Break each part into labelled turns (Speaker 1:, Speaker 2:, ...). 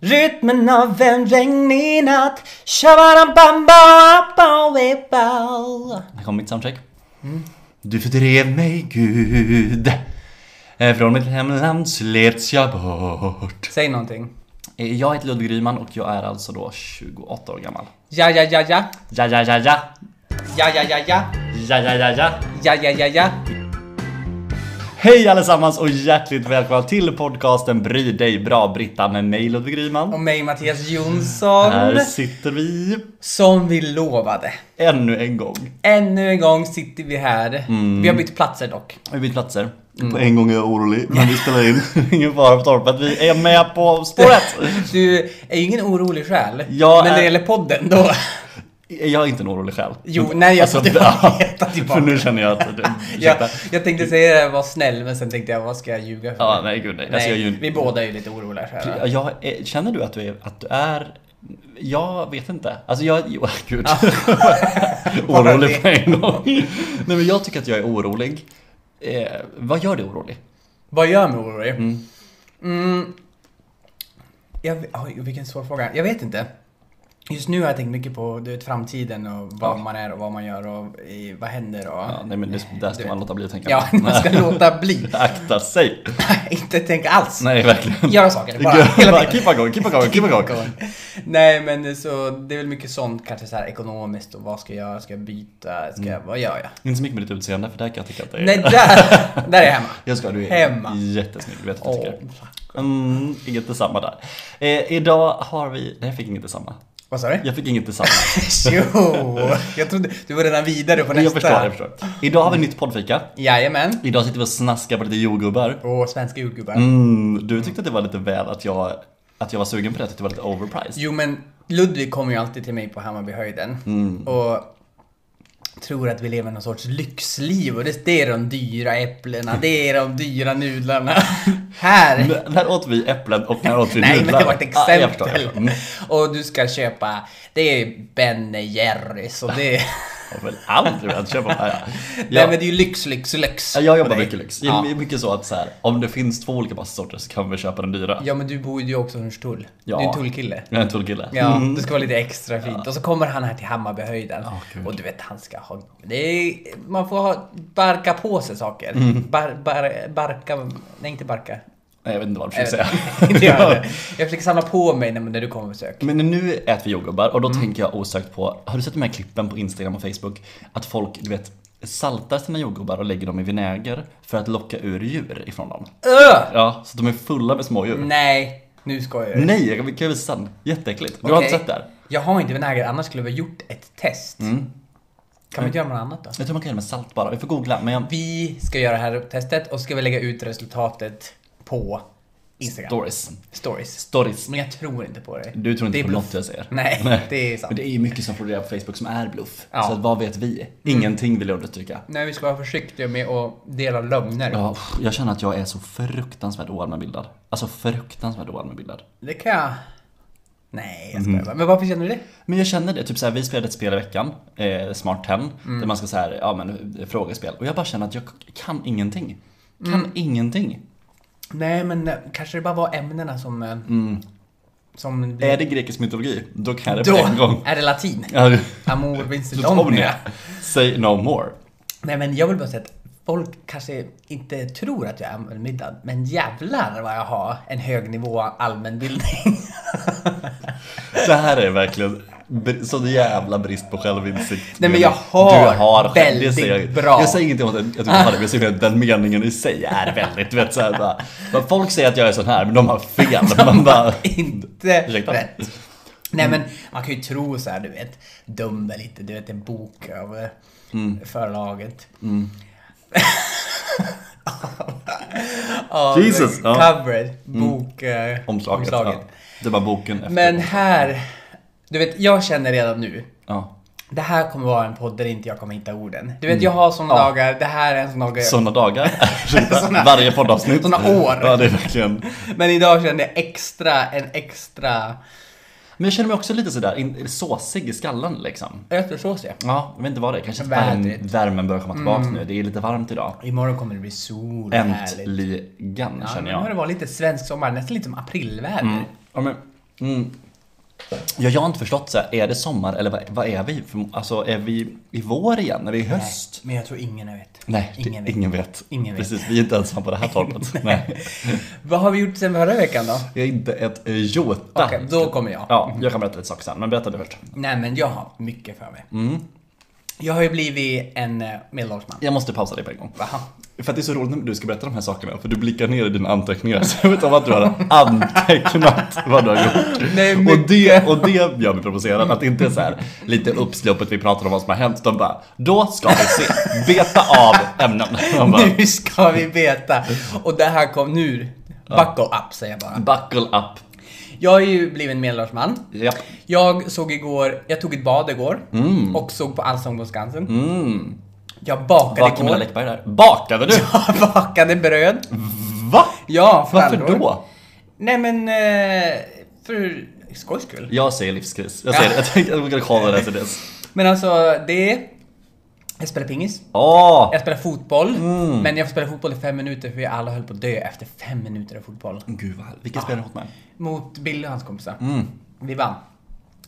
Speaker 1: Rytmen av en regnig natt Shabarambamba
Speaker 2: Här kommer mitt soundcheck. Du fördrev mig Gud. Eh, Från mitt hemland slets jag bort.
Speaker 1: Säg någonting.
Speaker 2: Eh, Jag heter Ludvig Ryman och jag är alltså då 28 år gammal.
Speaker 1: Ja, ja, ja, ja.
Speaker 2: Ja, ja, ja, ja.
Speaker 1: Ja, ja, ja, ja.
Speaker 2: Ja, ja, ja, ja.
Speaker 1: Ja, ja, ja, ja.
Speaker 2: Hej allesammans och hjärtligt välkomna till podcasten Bry dig bra Britta med mig Ludvig Ryman.
Speaker 1: Och mig Mattias Jonsson.
Speaker 2: Här sitter vi
Speaker 1: Som vi lovade.
Speaker 2: ännu en gång.
Speaker 1: Ännu en gång sitter vi här.
Speaker 2: Mm.
Speaker 1: Vi har bytt platser dock.
Speaker 2: Vi har bytt platser.
Speaker 3: På en gång är jag orolig, men vi spelar in.
Speaker 2: Ingen fara på torpet, vi är med på spåret.
Speaker 1: Du är ju ingen orolig själ. men
Speaker 2: Jag
Speaker 1: när
Speaker 2: är-
Speaker 1: det gäller podden då.
Speaker 2: Jag är inte en orolig själ.
Speaker 1: Jo, nej jag sa
Speaker 2: Alltså,
Speaker 1: det var
Speaker 2: ja.
Speaker 1: heta
Speaker 2: För
Speaker 1: tillbaka.
Speaker 2: nu känner jag att... Ursäkta.
Speaker 1: Jag, jag tänkte säga det, var snäll, men sen tänkte jag vad ska jag ljuga för?
Speaker 2: Ja, nej gud nej. Alltså,
Speaker 1: nej,
Speaker 2: jag är ju-
Speaker 1: vi båda är ju lite oroliga själar.
Speaker 2: Ja, Jag, är- känner du att du är... Att du är jag vet inte. Alltså jag... Jo, gud. orolig på en gång. Nej men jag tycker att jag är orolig. Eh, vad gör dig orolig?
Speaker 1: Vad gör mig orolig? Mm. Jag, oj, vilken svår fråga. Jag vet inte. Just nu har jag tänkt mycket på du vet, framtiden och vad man är och vad man gör och i, vad händer och...
Speaker 2: Ja, nej men det, där ska man låta bli att tänka.
Speaker 1: Eh, Ja, man ska låta bli.
Speaker 2: Akta sig.
Speaker 1: inte tänka alls.
Speaker 2: Nej verkligen.
Speaker 1: Göra saker bara. hela
Speaker 2: Bara,
Speaker 1: tiden.
Speaker 2: keep on going, keep on going, keep on going.
Speaker 1: Nej men så det är väl mycket sånt kanske så här ekonomiskt och vad ska jag göra? Ska jag byta? Ska
Speaker 2: Mm.
Speaker 1: jag, vad gör jag?
Speaker 2: Inte så mycket med ditt utseende för där kan jag tycka att det är...
Speaker 1: Nej där, där är jag hemma.
Speaker 2: Jag ska, du är
Speaker 1: Hemma.
Speaker 2: jättesnygg, du vet att jag
Speaker 1: Åh,
Speaker 2: tycker. Mm, inget detsamma där. Eh, idag har vi... Nej, jag fick inget detsamma.
Speaker 1: vad sa du?
Speaker 2: Jag fick inget detsamma.
Speaker 1: Jo, jag trodde du var redan vidare på nästa.
Speaker 2: jag förstår, jag förstår. Idag har vi nytt poddfika.
Speaker 1: Jajamän.
Speaker 2: Idag sitter vi och snaskar på lite jordgubbar.
Speaker 1: Åh, svenska jordgubbar.
Speaker 2: Mm, du tyckte att det var lite väl att jag, att jag var sugen på det, att det var lite overpriced.
Speaker 1: Jo men Ludvig kommer ju alltid till mig på Hammarbyhöjden
Speaker 2: Mm.
Speaker 1: och tror att vi lever någon sorts lyxliv och det, det är de dyra äpplena, det är de dyra nudlarna. Här!
Speaker 2: Men När åt vi äpplen och när åt vi
Speaker 1: Nej men
Speaker 2: nudlar?
Speaker 1: det var ett
Speaker 2: Ah, jag
Speaker 1: exempel.
Speaker 2: förstår, jag förstår. Mm.
Speaker 1: Och du ska köpa, det är Ben Jerrys och det...
Speaker 2: Jag har väl aldrig velat köpa det här.
Speaker 1: Nej
Speaker 2: Jag,
Speaker 1: men det är ju lyx, lyx, lyx.
Speaker 2: jag jobbar
Speaker 1: på dig.
Speaker 2: mycket lyx. Det är
Speaker 1: Ja.
Speaker 2: Mycket så att så här, om det finns två olika passorter så kan vi köpa den dyra.
Speaker 1: ja men du bor ju också i Hornstull.
Speaker 2: Ja.
Speaker 1: Du är en tullkille.
Speaker 2: Jag är en tullkille. Mm.
Speaker 1: Ja, det ska vara lite extra fint. Och så kommer han här till Hammarbyhöjden. och du vet, han ska ha... Det är, man får ha, barka på sig saker.
Speaker 2: Mm.
Speaker 1: Bar, bar, barka... Nej, inte barka.
Speaker 2: Nej, jag vet inte vad du försöker
Speaker 1: Jag
Speaker 2: säga.
Speaker 1: vet inte jag, jag försöker samla på mig när, när du kommer på besök.
Speaker 2: Men nu äter vi jordgubbar och då
Speaker 1: Mm.
Speaker 2: tänker jag osökt på, har du sett de här klippen på Instagram och Facebook? Att folk, du vet, saltar sina jordgubbar och lägger dem i vinäger för att locka ur djur ifrån dem.
Speaker 1: Öh!
Speaker 2: Ja, så de är fulla med smådjur. Nej,
Speaker 1: Nej, nu skojar du.
Speaker 2: jag kan- kan jag visa sen. Jätteäckligt. Du har
Speaker 1: Mm.
Speaker 2: inte
Speaker 1: Okej.
Speaker 2: sett det här? Mm.
Speaker 1: Jag har inte vinäger, annars skulle vi ha gjort ett test. Kan vi inte göra något annat då?
Speaker 2: Jag tror man kan göra med salt bara, vi får googla. Men jag...
Speaker 1: Vi ska göra det här testet och ska vi lägga ut resultatet på Instagram.
Speaker 2: Stories.
Speaker 1: Stories.
Speaker 2: Stories.
Speaker 1: Men jag tror inte på det.
Speaker 2: Du tror
Speaker 1: Det
Speaker 2: inte
Speaker 1: är
Speaker 2: på
Speaker 1: bluff.
Speaker 2: något jag säger?
Speaker 1: Nej, det är sant.
Speaker 2: Men det är ju mycket som florerar på Facebook som är bluff.
Speaker 1: Ja. Mm.
Speaker 2: Så att, vad vet vi? Ingenting vill jag understryka.
Speaker 1: Nej, vi ska vara försiktiga med att dela lögner.
Speaker 2: Ja, pff, jag känner att jag är så fruktansvärt oallmänbildad. Alltså fruktansvärt oallmänbildad.
Speaker 1: Det kan jag... Nej,
Speaker 2: Mhm.
Speaker 1: jag skojar bara. Men varför känner du det?
Speaker 2: Men jag känner det, typ såhär, vi spelade ett spel i veckan, eh, Smart 10,
Speaker 1: Mm.
Speaker 2: där man ska såhär, ja men frågespel. Och jag bara känner att jag kan ingenting. Kan
Speaker 1: Mm.
Speaker 2: ingenting.
Speaker 1: Nej, men eh, kanske det bara var ämnena som... eh, Som...
Speaker 2: Mm. Är det grekisk mytologi, då kan jag det
Speaker 1: Då
Speaker 2: på en gång.
Speaker 1: är det latin.
Speaker 2: Ja, du-
Speaker 1: Amor
Speaker 2: så tar vi
Speaker 1: vincedonia.
Speaker 2: det. Say no more.
Speaker 1: Nej, men jag vill bara säga att folk kanske inte tror att jag är allmänbildad. Men jävlar vad jag har en hög nivå av allmänbildning.
Speaker 2: Det här är verkligen br- sån jävla brist på självinsikt.
Speaker 1: Nej, men jag har
Speaker 2: själv-
Speaker 1: väldigt
Speaker 2: säger,
Speaker 1: bra.
Speaker 2: Jag säger inte om att jag tycker att det, men jag säger att den meningen i sig är väldigt, du vet såhär bara, bara, Folk säger att jag är sån här, men de har fel. Man bara,
Speaker 1: inte
Speaker 2: Ursäkta.
Speaker 1: rätt. Nej
Speaker 2: Mm.
Speaker 1: men man kan ju tro så här, du vet, döm dig lite, du vet en bok av eh,
Speaker 2: Mm.
Speaker 1: förlaget. Av
Speaker 2: Jesus, ja. Mm.
Speaker 1: Covered, bok, eh,
Speaker 2: omslaget.
Speaker 1: omslaget.
Speaker 2: Ja. Det var boken efter.
Speaker 1: Men här, du vet, jag känner redan nu,
Speaker 2: Ja.
Speaker 1: det här kommer vara en podd där inte jag kommer hitta orden. Du
Speaker 2: Mm.
Speaker 1: vet, jag har såna dagar, det här är en sån dag. jag-
Speaker 2: Sådana dagar. Ursäkta,
Speaker 1: Såna-
Speaker 2: Varje poddavsnitt.
Speaker 1: såna år.
Speaker 2: Ja, det är verkligen.
Speaker 1: Men idag kände jag extra, en extra
Speaker 2: Men jag känner mig också lite sådär in, såsig i skallen liksom.
Speaker 1: Ötersås ja.
Speaker 2: Ja, jag vet inte vad det är. Kanske att
Speaker 1: Vädret.
Speaker 2: värm, värmen börjar komma tillbaka nu. Det är lite varmt idag.
Speaker 1: Imorgon kommer det bli sol och Mm. härligt.
Speaker 2: Äntligen
Speaker 1: Ja,
Speaker 2: känner
Speaker 1: nu har det
Speaker 2: jag.
Speaker 1: varit lite svensk sommar, nästan lite som aprilväder.
Speaker 2: Ja, men, mm. ja, jag har inte förstått så här, är det sommar eller vad, vad är vi? För, alltså är vi i vår igen? Är vi i
Speaker 1: Nej,
Speaker 2: höst?
Speaker 1: Men jag tror ingen vet.
Speaker 2: Nej, det-
Speaker 1: ingen vet.
Speaker 2: ingen vet.
Speaker 1: Ingen vet.
Speaker 2: Precis, vi är inte ensamma på det här torpet. Nej.
Speaker 1: Vad har vi gjort sen förra veckan då?
Speaker 2: Jag är inte ett eh, jota.
Speaker 1: Okej, då kommer jag.
Speaker 2: Ja, jag kan berätta lite saker sen, men berätta du först.
Speaker 1: Nej men jag har mycket för mig.
Speaker 2: Mm.
Speaker 1: Jag har ju blivit en eh, medelålders man.
Speaker 2: Jag måste pausa dig på en gång.
Speaker 1: Jaha.
Speaker 2: För att det är så roligt när du ska berätta de här sakerna, för du blickar ner i dina anteckningar. Så jag vet inte vad du har antecknat vad du har gjort.
Speaker 1: Nej,
Speaker 2: och, det, och det gör mig provocerad, att det inte är så här lite uppsluppet vi pratar om vad som har hänt, utan bara Då ska vi se, beta av ämnen. Man bara,
Speaker 1: Nu ska vi veta! Och det här kom nu. Buckle up säger jag bara.
Speaker 2: Buckle up.
Speaker 1: Jag har ju blivit en medelålders man.
Speaker 2: Ja.
Speaker 1: Jag såg igår, jag tog ett bad igår
Speaker 2: Mm.
Speaker 1: och såg på Allsång på Skansen. Jag bakade
Speaker 2: Var Camilla
Speaker 1: igår.
Speaker 2: Läckberg där? Bakade du?
Speaker 1: Jag bakade bröd.
Speaker 2: Va?
Speaker 1: Ja,
Speaker 2: Varför
Speaker 1: frallor.
Speaker 2: då?
Speaker 1: Nej men, eh, för skojs skull.
Speaker 2: Jag säger livskris. Jag säger det. Jag tänker att vi kan kolla det här till dess.
Speaker 1: Men alltså, det... Jag spelar pingis.
Speaker 2: Åh!
Speaker 1: Jag spelar fotboll, men jag spelar fotboll i fem minuter för vi alla höll på att dö efter fem minuter av fotboll.
Speaker 2: Gud vad Vilka spelar du mot mig?
Speaker 1: Mot Billy och hans kompisar. Vi vann.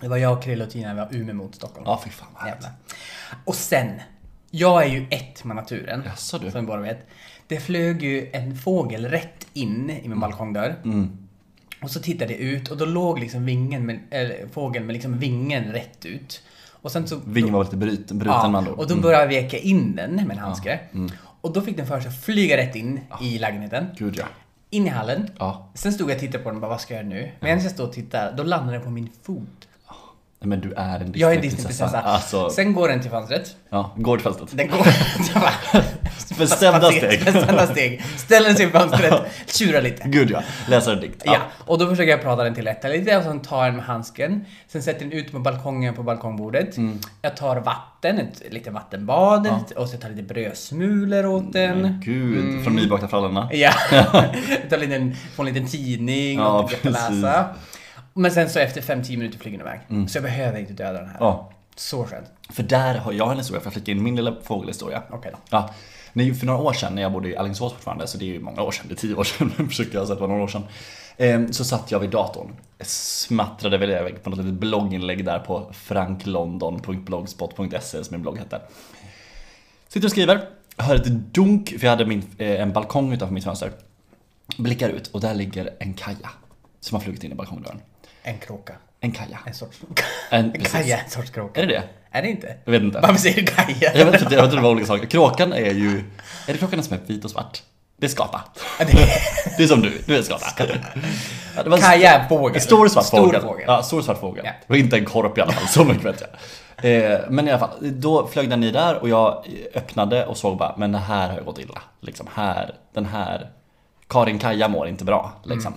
Speaker 1: Det var jag, Krille och Tina, vi var Umeå mot Stockholm.
Speaker 2: Ja, fy fan vad härligt.
Speaker 1: Jävlar. Och sen, jag är ju ett med naturen.
Speaker 2: Jaså, du.
Speaker 1: Som vi båda vet. Det flög ju en fågel rätt in i
Speaker 2: Mm.
Speaker 1: min balkongdörr. Och så tittade jag ut och då låg liksom vingen med, eller, fågeln med liksom vingen rätt ut. Och sen så...
Speaker 2: Vingen var lite bryt, bruten med andra ord. Mm.
Speaker 1: och då började jag veka in den med en handske. Och då fick den för sig att flyga rätt in i lägenheten.
Speaker 2: Gud ja.
Speaker 1: In i hallen.
Speaker 2: Ah. Ja.
Speaker 1: Sen stod jag och tittade på den och bara, vad ska jag göra nu? Medan jag stod och tittade, då landade den på min fot.
Speaker 2: Nej, Men du är en
Speaker 1: Jag är
Speaker 2: Disneyprinsessa.
Speaker 1: Disneyprinsessa.
Speaker 2: Alltså,
Speaker 1: Sen går den till fönstret.
Speaker 2: ja, gårdfältet.
Speaker 1: Den går... Jag bara-
Speaker 2: Bestämda steg.
Speaker 1: Bestämda steg. Ställer sig i fönstret, tjurar lite.
Speaker 2: Gud ja. Läser en dikt.
Speaker 1: Ja, och då försöker jag prata den till lätta lite och sen tar jag den med handsken. Sen sätter jag den ut på balkongen på balkongbordet.
Speaker 2: Mm.
Speaker 1: Jag tar vatten, ett litet vattenbad och så tar jag lite brödsmulor
Speaker 2: Mm,
Speaker 1: åt den.
Speaker 2: Men Gud,
Speaker 1: Mm.
Speaker 2: från nybakta frallorna.
Speaker 1: Ja, jag tar en liten, får en liten tidning
Speaker 2: Ja,
Speaker 1: och lite att
Speaker 2: precis. Mm.
Speaker 1: läsa. Men sen så efter 5-10 minuter flyger den iväg. Så jag behöver inte döda den här.
Speaker 2: Ja.
Speaker 1: Så skönt.
Speaker 2: För där har jag en historia, för jag flika in min lilla fågelhistoria.
Speaker 1: Okej då.
Speaker 2: Ja. Nej, för några år sedan när jag bodde i Alingsås fortfarande, så det är ju många år sedan, det är tio år sedan, men försökte jag säga att det var några år sedan. Ehm, Så satt jag vid datorn, smattrade väl iväg på något litet blogginlägg där på franklondon.blogspot.se som min blogg hette. Sitter och skriver, hör ett dunk, för jag hade min, eh, en balkong utanför mitt fönster. Blickar ut och där ligger en kaja som har flugit in i balkongdörren.
Speaker 1: En kråka.
Speaker 2: En kaja.
Speaker 1: En sorts...
Speaker 2: En-
Speaker 1: En
Speaker 2: precis.
Speaker 1: kaja, en sorts kråka.
Speaker 2: Är det det?
Speaker 1: Är det inte?
Speaker 2: Jag vet inte.
Speaker 1: Varför säger du kaja?
Speaker 2: Jag vet inte, jag vet inte det var olika saker. Kråkan är ju... Är det kråkan som är vit och svart? Det är skapa. Det är som du, du är skapa. Ja, det var en
Speaker 1: Kaja är
Speaker 2: st-
Speaker 1: fågel.
Speaker 2: En stor svart
Speaker 1: Stor
Speaker 2: fågel.
Speaker 1: fågel.
Speaker 2: Ja, stor svart fågel.
Speaker 1: Ja.
Speaker 2: Det var inte en korp i alla fall, så mycket vet jag. Eh, Men i alla fall, då flög den i där och jag öppnade och såg bara, men det här har ju gått illa. Liksom här, den här, Karin Kaja mår inte bra. Liksom.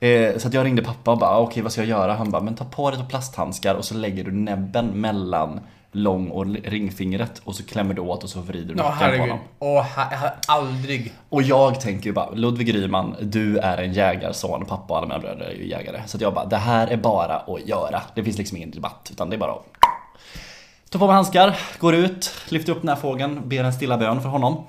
Speaker 1: Mm.
Speaker 2: Eh, så att jag ringde pappa och bara, okej vad ska jag göra? Han bara, men ta på dig ett par plasthandskar och så lägger du näbben mellan lång och l- ringfingret och så klämmer du åt och så vrider du
Speaker 1: Åh
Speaker 2: nacken på
Speaker 1: herregud.
Speaker 2: honom.
Speaker 1: Åh, ha- jag har aldrig...
Speaker 2: Och jag tänker ju bara, Ludvig Ryman, du är en jägarson, pappa och alla mina bröder är ju jägare. Så att jag bara, det här är bara att göra. Det finns liksom ingen debatt, utan det är bara att... Ta på mig handskar, går ut, lyfter upp den här fågeln, ber en stilla bön för honom.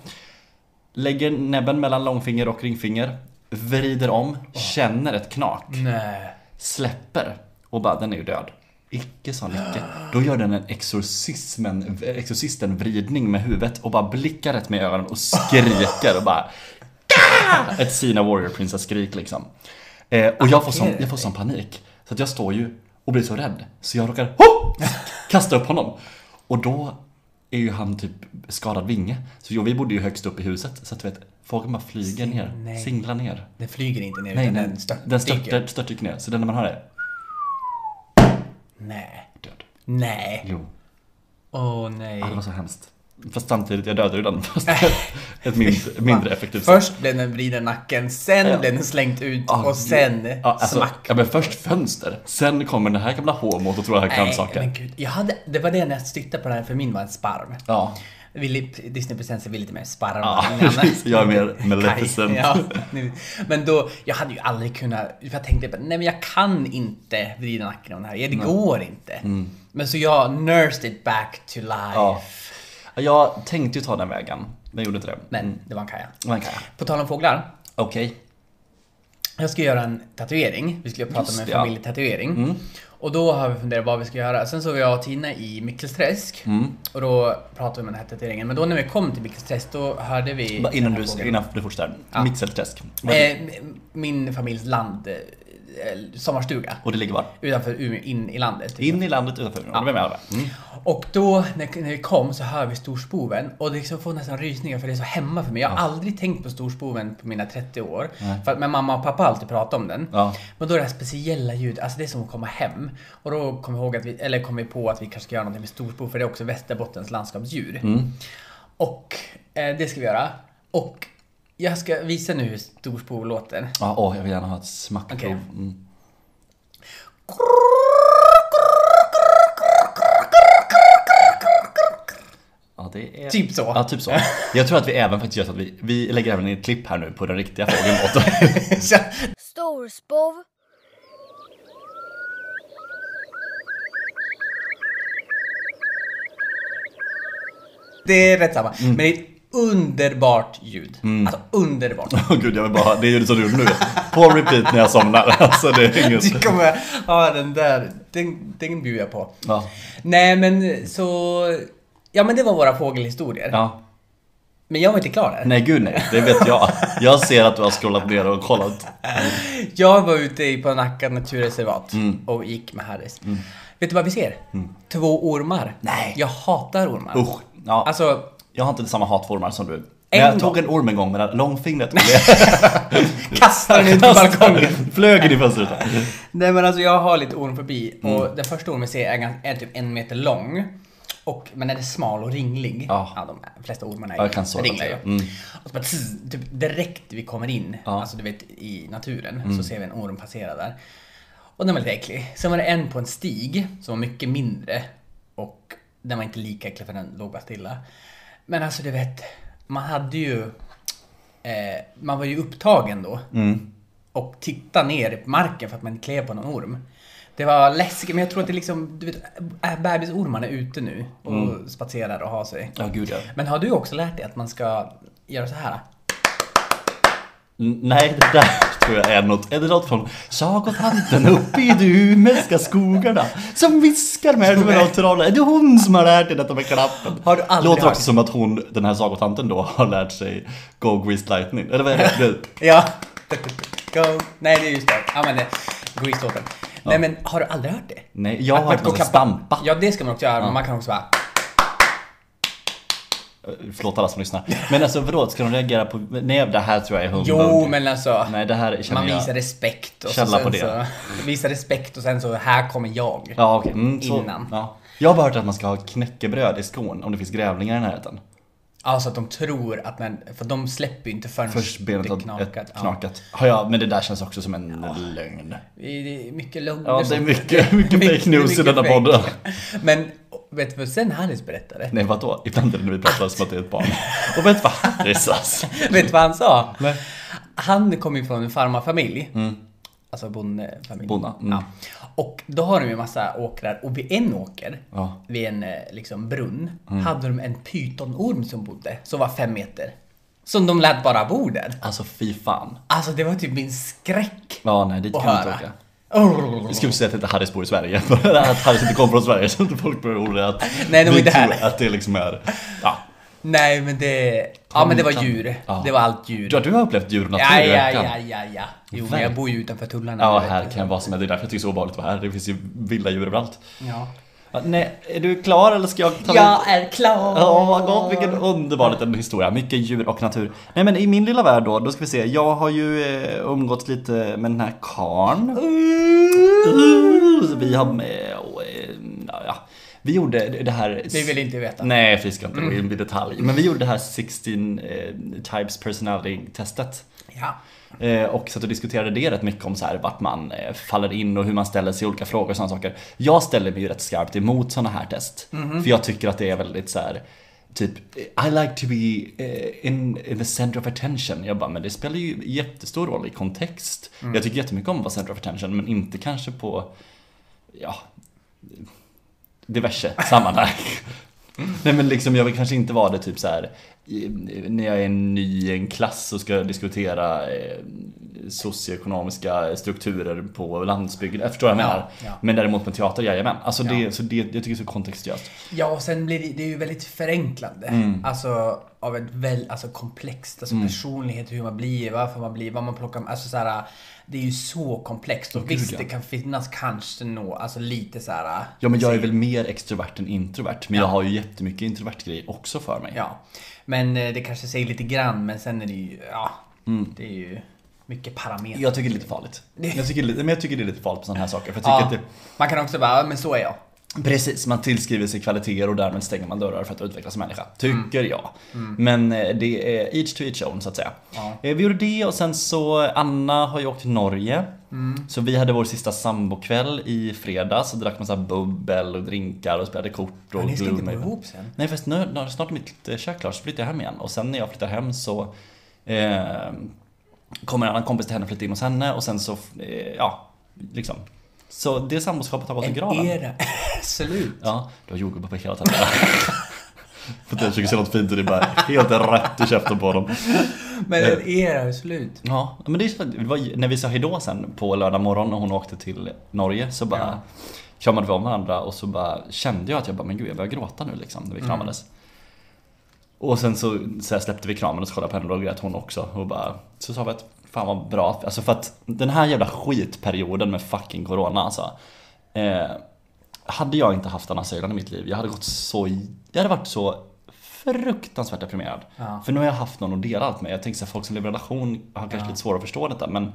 Speaker 2: Lägger näbben mellan långfinger och ringfinger, vrider om, känner ett knak
Speaker 1: Nej.
Speaker 2: släpper och bara den är ju död. Icke sa Nicke. Då gör den en exorcismen, exorcisten vridning med huvudet och bara blickar rätt med ögonen och skriker och bara "Ah!" Ett Sina Warrior Princess skrik liksom. Eh, och jag får, sån, jag får sån panik. Så att jag står ju och blir så rädd. Så jag råkar "Hopp!" kasta upp honom. Och då är ju han typ skadad vinge. Så jag, vi bodde ju högst upp i huset. Så att du vet, fågeln bara flyger ner,
Speaker 1: Nej.
Speaker 2: singlar ner.
Speaker 1: Den flyger inte ner
Speaker 2: Nej,
Speaker 1: utan
Speaker 2: den,
Speaker 1: den störtdyker.
Speaker 2: den störtdyker stört ner. Så den när man hör det
Speaker 1: Nej.
Speaker 2: död.
Speaker 1: Nej.
Speaker 2: Jo.
Speaker 1: Åh nej.
Speaker 2: Ja, det var så hemskt. Fast samtidigt, jag dödade ju den. Fast ett mindre, mindre effektivt sätt.
Speaker 1: Först blev den vriden nacken, sen
Speaker 2: Ja.
Speaker 1: blev den slängt ut
Speaker 2: Ja,
Speaker 1: och sen
Speaker 2: Ja, alltså,
Speaker 1: smack.
Speaker 2: Ja, men först fönster. Sen kommer den här gamla homot och tror att han kan
Speaker 1: Nej, men
Speaker 2: saker.
Speaker 1: gud. Jag hade, det var det när jag tittade på den här, för min var en sparv.
Speaker 2: Ja.
Speaker 1: Vill- Disney-presensen vill lite mer sparra
Speaker 2: Ja,
Speaker 1: med varandra.
Speaker 2: precis. Jag är mer Maleficent.
Speaker 1: Kaj, Ja, ni- men då, jag hade ju aldrig kunnat, för jag tänkte nej men jag kan inte vrida nacken om det här, det går inte. Men så jag nursed it back to life.
Speaker 2: Mm. Ja. Jag tänkte ju ta den vägen, men gjorde inte det. Mm.
Speaker 1: Men det var en kaja.
Speaker 2: Men kan jag.
Speaker 1: På tal om fåglar.
Speaker 2: Okej.
Speaker 1: Jag ska göra en tatuering. Vi skulle prata
Speaker 2: Just
Speaker 1: om en
Speaker 2: det, ja. Mm.
Speaker 1: familjetatuering. Och då har vi funderat vad vi ska göra. Sen så var jag och Tina i Mikkelsträsk.
Speaker 2: Mm.
Speaker 1: Och då pratade vi om den här tatueringen. Men då när vi kom till Mikkelsträsk då hörde vi...
Speaker 2: Bara Innan
Speaker 1: den här
Speaker 2: du,
Speaker 1: fågeln.
Speaker 2: innan du fortsätter.
Speaker 1: Ja.
Speaker 2: Mitzelträsk.
Speaker 1: Eh, m- min familjs land... eh, eh, Sommarstuga.
Speaker 2: Och det ligger var?
Speaker 1: Utanför Umeå, in i landet.
Speaker 2: In i landet, utanför Umeå. Ja. Vem är det? Mm.
Speaker 1: Och då när, när vi kom så hör vi storspoven och det liksom får nästan rysningar för det är så hemma för mig. Jag har aldrig tänkt på storspoven på mina 30 år. För att, men mamma och pappa har alltid pratat om den.
Speaker 2: Ja.
Speaker 1: Men då är det här speciella ljudet, alltså det är som att komma hem. Och då kom, jag ihåg att vi, eller kom vi på att vi kanske ska göra någonting med storspov för det är också Västerbottens landskapsdjur.
Speaker 2: Mm.
Speaker 1: Och eh, det ska vi göra. Och jag ska visa nu hur storspov låter.
Speaker 2: Ja, åh, jag vill gärna ha ett smackprov.
Speaker 1: Okej.
Speaker 2: Mm. Ja, det är...
Speaker 1: Typ så.
Speaker 2: Ja, typ så. Jag tror att vi även faktiskt gör så att vi, vi lägger även in ett klipp här nu på den riktiga fågelbåten.
Speaker 1: Så-
Speaker 4: Storspov.
Speaker 1: det är rätt samma.
Speaker 2: Mm.
Speaker 1: Men det är ett underbart ljud. Alltså underbart.
Speaker 2: Åh gud, jag vill bara... Det är ju som du nu. På repeat när jag somnar. Alltså, det är inget...
Speaker 1: Du kommer ha den där. Den, den bjuder jag på.
Speaker 2: Ja.
Speaker 1: Nej men så... Ja men det var våra fågelhistorier.
Speaker 2: ja.
Speaker 1: Men jag var inte klar där.
Speaker 2: Nej, gud nej. Det vet jag. Jag ser att du har scrollat ner och kollat.
Speaker 1: Jag var ute i- på Nacka naturreservat
Speaker 2: Mm.
Speaker 1: och gick med Harris. Vet du vad vi ser? Två ormar.
Speaker 2: Nej.
Speaker 1: Jag hatar ormar.
Speaker 2: Usch. Ja,
Speaker 1: Alltså,
Speaker 2: jag har inte samma hatformar som du. Men jag
Speaker 1: gång.
Speaker 2: tog en orm en gång med långfingret.
Speaker 1: kastar den ut på balkongen.
Speaker 2: Flög in i fönstret.
Speaker 1: Nej men alltså jag har lite ormfobi
Speaker 2: Mm.
Speaker 1: och den första ormen jag ser är, gans- är typ en meter lång. Och, men den är smal och ringlig.
Speaker 2: Ja.
Speaker 1: de flesta ormarna är
Speaker 2: Ja, jag kan så
Speaker 1: ringliga ju.
Speaker 2: relatera. Mm.
Speaker 1: Och så bara, tss, typ direkt vi kommer in,
Speaker 2: Ja. Mm.
Speaker 1: alltså du vet i naturen, så ser vi en orm passera där. Och den var lite äcklig. Sen var det en på en stig som var mycket mindre. Och den var inte lika äcklig för den låg bara stilla. Men alltså du vet, man hade ju... Eh, man var ju upptagen då
Speaker 2: Mm.
Speaker 1: och titta ner på marken för att man klev på någon orm. Det var läskigt, men jag tror att det liksom, du vet, äh, bebisormarna är ute nu och
Speaker 2: Mm.
Speaker 1: spatserar och har sig.
Speaker 2: Ja, gud ja.
Speaker 1: Men har du också lärt dig att man ska göra så här?
Speaker 2: N- Nej, det där tror jag är något. Är det något från sagotanten uppe i de umeska skogarna som viskar med mig och trollar? Är det hon som har lärt dig detta med knappen?
Speaker 1: Har du aldrig
Speaker 2: Låter
Speaker 1: hört?
Speaker 2: också som att hon, den här sagotanten då, har lärt sig Go Grease Lightning. Eller vad är det?
Speaker 1: Ja. Go. Nej, det är just det. Ja, men det. Grease-låten. Nej, men har du aldrig hört det?
Speaker 2: Nej, jag har hört någon
Speaker 1: gå
Speaker 2: som stampa.
Speaker 1: Ja, det ska man också göra, men man kan också bara...
Speaker 2: Förlåt alla som lyssnar. Men alltså vadå, ska de reagera på... Nej, det här tror jag är hundra.
Speaker 1: Jo, men alltså.
Speaker 2: Nej, det här känner
Speaker 1: man
Speaker 2: jag...
Speaker 1: visar respekt. Och så-
Speaker 2: Källa
Speaker 1: sen
Speaker 2: på det.
Speaker 1: Så, visar respekt och sen så, här kommer jag.
Speaker 2: Ja, okej. Mm, så-
Speaker 1: Innan.
Speaker 2: Ja. Jag har bara hört att man ska ha knäckebröd i skon om det finns grävlingar i närheten.
Speaker 1: Alltså att de tror att man, för de släpper ju inte förrän
Speaker 2: Först benet har
Speaker 1: det knakat.
Speaker 2: ett knakat. Ja. Ja, men det där känns också som en lögn.
Speaker 1: Ja, det är mycket lugn.
Speaker 2: Ja, det är mycket, mycket fake news i
Speaker 1: mycket
Speaker 2: denna
Speaker 1: fake.
Speaker 2: podden.
Speaker 1: Men vet du vad sen Harris berättade?
Speaker 2: Nej, vadå? Ibland är det när vi pratar som att det är ett barn. Och vet du vad Harris alltså.
Speaker 1: Vet du vad han sa?
Speaker 2: Nej.
Speaker 1: Han kom ju från en farmarfamilj. Alltså bondefamilj.
Speaker 2: Bona. Mm.
Speaker 1: Ja. Och då har de ju massa åkrar och vid en åker,
Speaker 2: Ja. Mm.
Speaker 1: vid en eh, liksom, brunn, hade de en pytonorm som bodde, som var fem meter. Som de lät bara bo där.
Speaker 2: Alltså fy fan.
Speaker 1: Alltså det var typ min skräck
Speaker 2: Ja, nej, dit
Speaker 1: att
Speaker 2: kan vi inte
Speaker 1: höra.
Speaker 2: åka. Vi skulle säga att inte Harris bor i Sverige. att Harris inte kom från Sverige så att folk blir oroliga att
Speaker 1: Nej, de är
Speaker 2: vi
Speaker 1: inte här.
Speaker 2: tror att det liksom är... Ja.
Speaker 1: Nej men det... Ja men det var djur.
Speaker 2: Ja.
Speaker 1: Det var allt djur.
Speaker 2: Du, du har upplevt djur och natur
Speaker 1: Ja, ja,
Speaker 2: verkligen.
Speaker 1: ja, ja, ja. Jo men jag
Speaker 2: Verkligen.
Speaker 1: bor ju utanför tullarna.
Speaker 2: Ja,
Speaker 1: du vet.
Speaker 2: här kan jag vara som helst. Det är därför jag tycker det är så obehagligt att vara här. Det finns ju vilda djur överallt.
Speaker 1: Ja.
Speaker 2: Ja, nej, är du klar eller ska jag ta
Speaker 1: Jag är klar!
Speaker 2: Åh vad gott, vilken underbar liten historia. Mycket djur och natur. Nej men i min lilla värld då, då ska vi se. Jag har ju eh, umgåtts lite med den här karn. Vi har med, och, eh, ja. Vi gjorde det här...
Speaker 1: Vi vill inte veta.
Speaker 2: Nej, för vi ska inte gå in i detalj. Men vi gjorde det här 16 eh, types personality-testet.
Speaker 1: Ja.
Speaker 2: Eh, och satt och diskuterade det rätt mycket om så här, vart man eh, faller in och hur man ställer sig i olika frågor och sådana saker. Jag ställer mig ju rätt skarpt emot sådana här test. För jag tycker att det är väldigt så här. Typ, I like to be eh, in, in the center of attention. Jag bara, men det spelar ju jättestor roll i kontext. Jag tycker jättemycket om att vara center of attention, men inte kanske på, ja, diverse sammanhang. Nej men liksom jag vill kanske inte vara det typ så här eh, när jag är ny i en klass och ska diskutera eh, socioekonomiska strukturer på landsbygden. Jag förstår vad jag
Speaker 1: Ja,
Speaker 2: menar.
Speaker 1: ja.
Speaker 2: Men däremot med teater, jajamän. Alltså det, så det, jag tycker det är så kontextuellt.
Speaker 1: Ja, och sen blir det, det är ju väldigt förenklande.
Speaker 2: Mm.
Speaker 1: Alltså av ett väl, alltså komplext, alltså personlighet, hur man blir, varför man blir, vad man plockar, alltså så här, det är ju så komplext. Och
Speaker 2: Gud,
Speaker 1: visst,
Speaker 2: ja.
Speaker 1: det kan finnas kanske nå, alltså lite så här.
Speaker 2: Ja men jag är väl mer extrovert än introvert, men jag har ju jättemycket introvert grej också för mig.
Speaker 1: Ja, men eh, det kanske säger lite grann, men sen är det ju, ja,
Speaker 2: Mm.
Speaker 1: det är ju mycket parametrar.
Speaker 2: Jag tycker det är lite farligt. Jag tycker, lite- men jag tycker det är lite farligt på sådana här saker. För jag tycker
Speaker 1: ja,
Speaker 2: att det,
Speaker 1: Man kan också bara, "Ja, men så är jag.
Speaker 2: Precis, man tillskriver sig kvaliteter och därmed stänger man dörrar för att utvecklas som människa. Tycker
Speaker 1: Mm.
Speaker 2: jag. Men eh, det är each to each own så att säga.
Speaker 1: Ja.
Speaker 2: Eh, Vi gjorde det och sen så Anna har ju åkt till Norge.
Speaker 1: Mm.
Speaker 2: Så vi hade vår sista sambokväll i fredags och drack massa bubbel och drinkar och spelade kort och
Speaker 1: Men ni ska inte bo
Speaker 2: Gloomhaven.
Speaker 1: ihop sen.
Speaker 2: Nej förresten, nu, nu, snart är mitt eh, kök klart så flyttar jag hem igen. Och sen när jag flyttar hem så eh, kommer en annan kompis till henne och flyttar in hos henne och sen så, eh, ja, liksom. Så det samboskapet har gått i graven.
Speaker 1: era. Slut.
Speaker 2: Ja, du har jordgubbar på hela tänderna.
Speaker 3: För att jag försöker säga något fint och det är bara helt rätt i käften på dem.
Speaker 1: Men en era är slut.
Speaker 2: ja, men det, är så- det var ju- när vi sa hejdå sen på lördag morgon när hon åkte till Norge så bara kramade vi om varandra och så bara kände jag att jag bara, men gud jag börjar gråta nu liksom
Speaker 3: Mm.
Speaker 2: när vi kramades. Och sen så, så här släppte vi kramen och så kollade jag på henne och då grät hon också och bara Så sa vi att fan vad bra, alltså för att den här jävla skitperioden med fucking corona alltså eh, Hade jag inte haft Anna Sörland i mitt liv, jag hade gått så, jag hade varit så fruktansvärt deprimerad
Speaker 1: Ja.
Speaker 2: För nu har jag haft någon att dela allt med, jag tänker så här, folk som lever i relation har kanske lite svårare att förstå detta men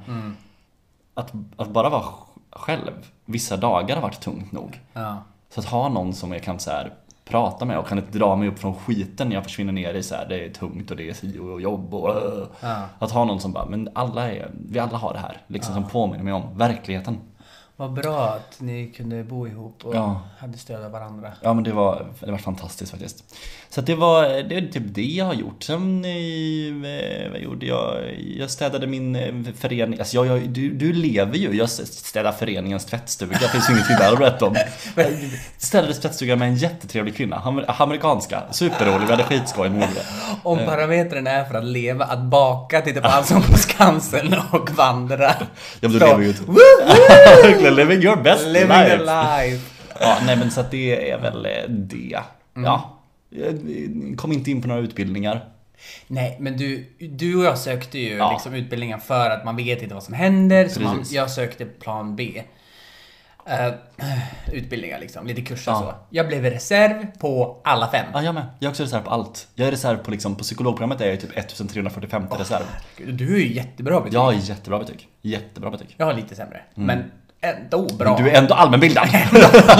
Speaker 2: att, att bara vara själv vissa dagar har varit tungt nog
Speaker 1: Ja.
Speaker 2: så att ha någon som jag kan så här, prata med och kan inte dra mig upp från skiten när jag försvinner ner i så här, det är tungt och det är si och jobb och äh.
Speaker 1: Ja.
Speaker 2: Att ha någon som bara, men alla är, vi alla har det här. Liksom som påminner mig om verkligheten.
Speaker 1: Vad bra att ni kunde bo ihop och
Speaker 2: Ja.
Speaker 1: hade stöd av varandra.
Speaker 2: Ja men det var, det var fantastiskt faktiskt. Så att det var, det är typ det jag har gjort. Sen, eh, vad gjorde jag? Jag städade min eh, förening, alltså jag, jag, du, du lever ju. Jag städade föreningens tvättstuga, det finns ju ingenting där att berätta om. Jag städade tvättstugan med en jättetrevlig kvinna, Amer- amerikanska. Superrolig, vi hade skitskoj när vi gjorde det.
Speaker 1: Om parametern är för att leva, att baka, titta på Allsång på Skansen och vandra.
Speaker 2: Ja men du
Speaker 1: Så,
Speaker 2: lever ju ett... Verkligen, living your best
Speaker 1: Living the
Speaker 2: life!
Speaker 1: life.
Speaker 2: Ja, nej men så att det är väl eh, det.
Speaker 1: Mm.
Speaker 2: Ja. Jag Kom inte in på några utbildningar.
Speaker 1: Nej, men du, du och jag sökte ju
Speaker 2: Ja.
Speaker 1: liksom utbildningen för att man vet inte vad som händer. Så man,
Speaker 2: Precis.
Speaker 1: jag sökte plan B. Eh, utbildningar liksom, lite kurser
Speaker 2: Ja.
Speaker 1: så. Jag blev reserv på alla fem.
Speaker 2: Ja, jag med. Jag är också reserv på allt. Jag är reserv på liksom, på psykologprogrammet är jag ju typ 1345 reserv.
Speaker 1: Gud, Du är ju jättebra betyg.
Speaker 2: Jag har jättebra betyg. Jättebra betyg.
Speaker 1: Jag har lite sämre, men ändå bra.
Speaker 2: Mm. Men du är ändå allmänbildad!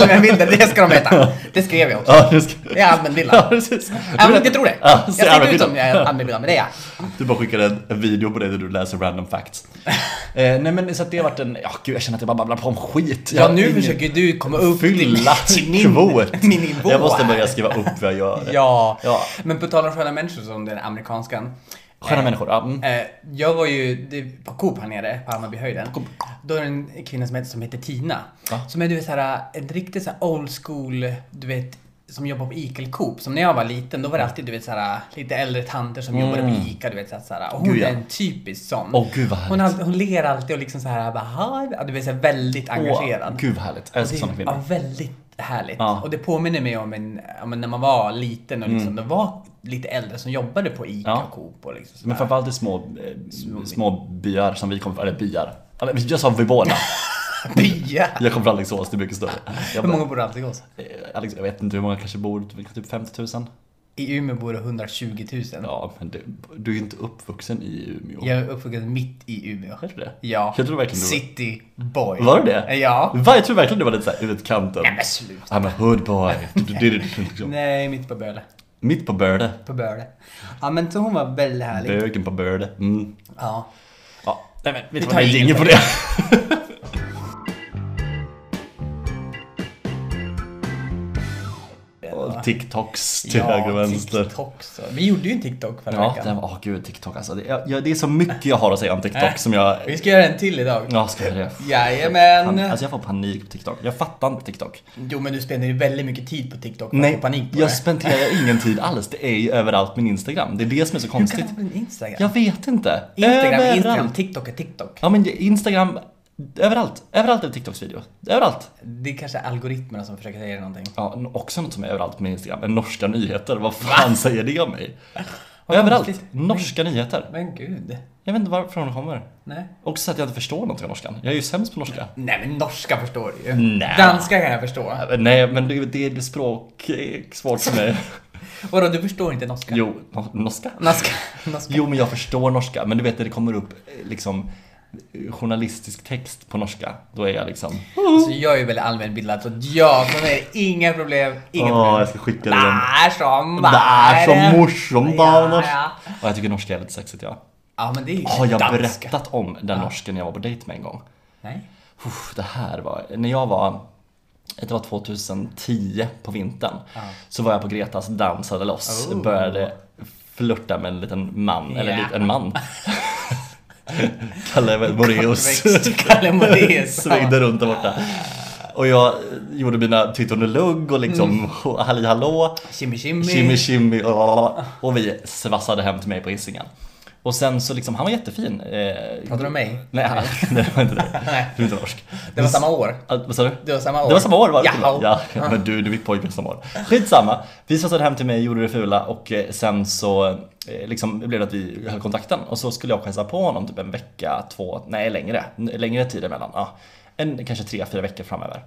Speaker 1: Men bilder, det ska de veta. Det skrev jag också.
Speaker 2: ja, du ska...
Speaker 1: Jag är allmänbildad.
Speaker 2: Ja, precis.
Speaker 1: Även om inte tror det.
Speaker 2: Ja,
Speaker 1: jag
Speaker 2: så
Speaker 1: ser inte ut
Speaker 2: allmänbildad.
Speaker 1: som jag är allmänbildad, men det är jag.
Speaker 2: Du bara skickar en, en video på det där du läser random facts. eh, nej men så att det har varit en, ja gud jag känner att jag bara babblar på om skit. Jag
Speaker 1: Ja,
Speaker 2: har
Speaker 1: nu
Speaker 2: ingen-
Speaker 1: försöker du komma upp
Speaker 2: Fylla
Speaker 1: till min,
Speaker 2: kvot.
Speaker 1: min nivå.
Speaker 2: Jag måste
Speaker 1: här.
Speaker 2: börja skriva upp vad jag gör.
Speaker 1: Ja.
Speaker 2: Ja.
Speaker 1: men på tal om sköna människor som den amerikanskan.
Speaker 2: Sköna
Speaker 1: eh,
Speaker 2: människor, ja. mm.
Speaker 1: Eh, jag var ju det, på Coop här nere, på Hammarbyhöjden.
Speaker 2: Coop.
Speaker 1: Då är det en kvinna som heter, som heter Tina.
Speaker 2: Va?
Speaker 1: Som är du vet, så här, en riktig så här old school, du vet, som jobbar på Ica eller Coop. Som när jag var liten, då var det alltid du vet, så här, lite äldre tanter som jobbade på Ica. Du vet, så här, så här, och hon
Speaker 2: Mm. Gud, ja.
Speaker 1: är en typisk sån.
Speaker 2: Åh, gud, vad härligt.
Speaker 1: hon, har- hon ler alltid och liksom så här, bara, "Hi." Ja, du vet, så här, väldigt engagerad.
Speaker 2: Åh, gud vad härligt. Jag älskar sådana
Speaker 1: Det är
Speaker 2: kvinnor.
Speaker 1: ja, väldigt härligt.
Speaker 2: Ja.
Speaker 1: Och det påminner mig om en, ja, men när man var liten och liksom, det var lite äldre som jobbade på ICA
Speaker 2: Mm. Ja.
Speaker 1: och Coop och liksom
Speaker 2: Men
Speaker 1: sådär.
Speaker 2: framförallt i små, eh, små byar som vi kommer från, eller byar. Eller, Jag sa vi båda.
Speaker 1: Bya!
Speaker 2: Jag kommer från Alingsås, det är mycket större.
Speaker 1: Hur
Speaker 2: Jag, bara,
Speaker 1: många bor det alltid hos?
Speaker 2: eh, Alex, jag vet inte hur många kanske bor, typ 50 000?
Speaker 1: I Umeå bor det 120 000.
Speaker 2: Ja, men du, du är ju inte uppvuxen i Umeå.
Speaker 1: Jag är uppvuxen mitt i Umeå.
Speaker 2: Är du det?
Speaker 1: Ja.
Speaker 2: Jag tror verkligen du var-
Speaker 1: City boy.
Speaker 2: Var du det?
Speaker 1: Ja.
Speaker 2: Va, jag tror verkligen du var lite såhär utkanten.
Speaker 1: Nej men sluta.
Speaker 2: I'm a hood boy. Du- du- du- du- liksom.
Speaker 1: Nej, mitt på Böle.
Speaker 2: Mitt på Börde.
Speaker 1: På Böle. Ja men så hon var väldigt härlig.
Speaker 2: Bögen på Börde. Mm.
Speaker 1: Ja.
Speaker 2: Ja, nej men vi
Speaker 1: tar
Speaker 2: tar en
Speaker 1: ingen
Speaker 2: jingel på det. Och
Speaker 3: TikToks till höger och vänster.
Speaker 1: TikTok så. Vi gjorde ju en TikTok förra
Speaker 2: Ja,
Speaker 1: veckan.
Speaker 2: den var, åh gud, TikTok alltså. Det, jag, jag, det är så mycket jag har att säga om
Speaker 1: Äh,
Speaker 2: TikTok som jag...
Speaker 1: Vi ska göra en till idag.
Speaker 2: Ja, ska jag göra det?
Speaker 1: Jajamän.
Speaker 2: Fan, Alltså jag får panik på TikTok. Jag fattar inte TikTok.
Speaker 1: Jo men du spenderar ju väldigt mycket tid på TikTok för att få Alltså, panik på
Speaker 2: jag
Speaker 1: det.
Speaker 2: spenderar ingen tid alls. Det är ju överallt min Instagram. Det är det som är så
Speaker 1: Hur kan det
Speaker 2: konstigt.
Speaker 1: ha blivit Instagram?
Speaker 2: Jag vet inte.
Speaker 1: Instagram är
Speaker 2: överallt.
Speaker 1: Instagram, TikTok är Tiktok.
Speaker 2: Ja men Instagram, överallt. Överallt är det TikToks video. Överallt.
Speaker 1: Det är kanske algoritmerna som försöker säga någonting.
Speaker 2: Ja, n- också något som är överallt på min Instagram. är Norska nyheter. Vad fan säger det om mig? Överallt.
Speaker 1: konstigt.
Speaker 2: Norska nyheter.
Speaker 1: Men gud.
Speaker 2: Jag vet inte varifrån de kommer.
Speaker 1: Nej.
Speaker 2: Också att jag inte förstår någonting av norskan. Jag är ju sämst på norska.
Speaker 1: Nej men norska förstår du ju.
Speaker 2: Nej.
Speaker 1: Danska kan jag förstå.
Speaker 2: Äh, Nej, men det det är språk eh, svårt för mig.
Speaker 1: Vadå, du förstår inte norska?
Speaker 2: Jo, no- norska?
Speaker 1: Norska. norska.
Speaker 2: Jo, men jag förstår norska. Men du vet när det kommer upp eh, liksom eh, journalistisk text på norska, då är jag liksom...
Speaker 1: Så jag är väldigt allmänbildad så att ja, för mig är det inga problem. Inga
Speaker 3: Ja,
Speaker 1: problem.
Speaker 3: jag ska skicka dig den.
Speaker 1: Där som
Speaker 2: Där som
Speaker 1: morsan.
Speaker 2: morsan
Speaker 1: Ja,
Speaker 2: barnas.
Speaker 1: ja.
Speaker 2: Och jag tycker norska är lite sexigt, ja.
Speaker 1: ja men det är ju
Speaker 2: Har jag
Speaker 1: danska.
Speaker 2: berättat om den norsken jag var på dejt med en gång?
Speaker 1: Nej.
Speaker 2: Uff, det här var, när jag var, det var 2010 på vintern, så var jag på Gretas dansade loss,
Speaker 1: Oh.
Speaker 2: började flörta med en liten man, eller
Speaker 1: Ja.
Speaker 2: lit- en man. Kalle Moraeus
Speaker 1: Kortväxt Kalle Moraeus.
Speaker 2: svängde runt där borta. Och jag gjorde mina tittonelugg och liksom halli hallå.
Speaker 1: Shimmy Mm. shimmy.
Speaker 2: Shimmy shimmy blablabla. Och vi svassade hem till mig på Hisingen Och sen så liksom, han var jättefin eh,
Speaker 1: Pratar du om mig?
Speaker 2: Nej, han- nej, det var inte det
Speaker 1: Nej.
Speaker 2: Du är inte norsk
Speaker 1: Det var samma år.
Speaker 2: Ah, Vad sa du?
Speaker 1: Det var samma år.
Speaker 2: Det var samma år var det
Speaker 1: Jaha.
Speaker 2: Ja, men du, du är mitt pojkvän samma år Skitsamma, vi svassade hem till mig, gjorde det fula och eh, sen så eh, liksom blev det att vi höll kontakten och så skulle jag hälsa på honom typ en vecka, två, nej längre, n- längre tid emellan ja. en, Kanske tre, fyra veckor framöver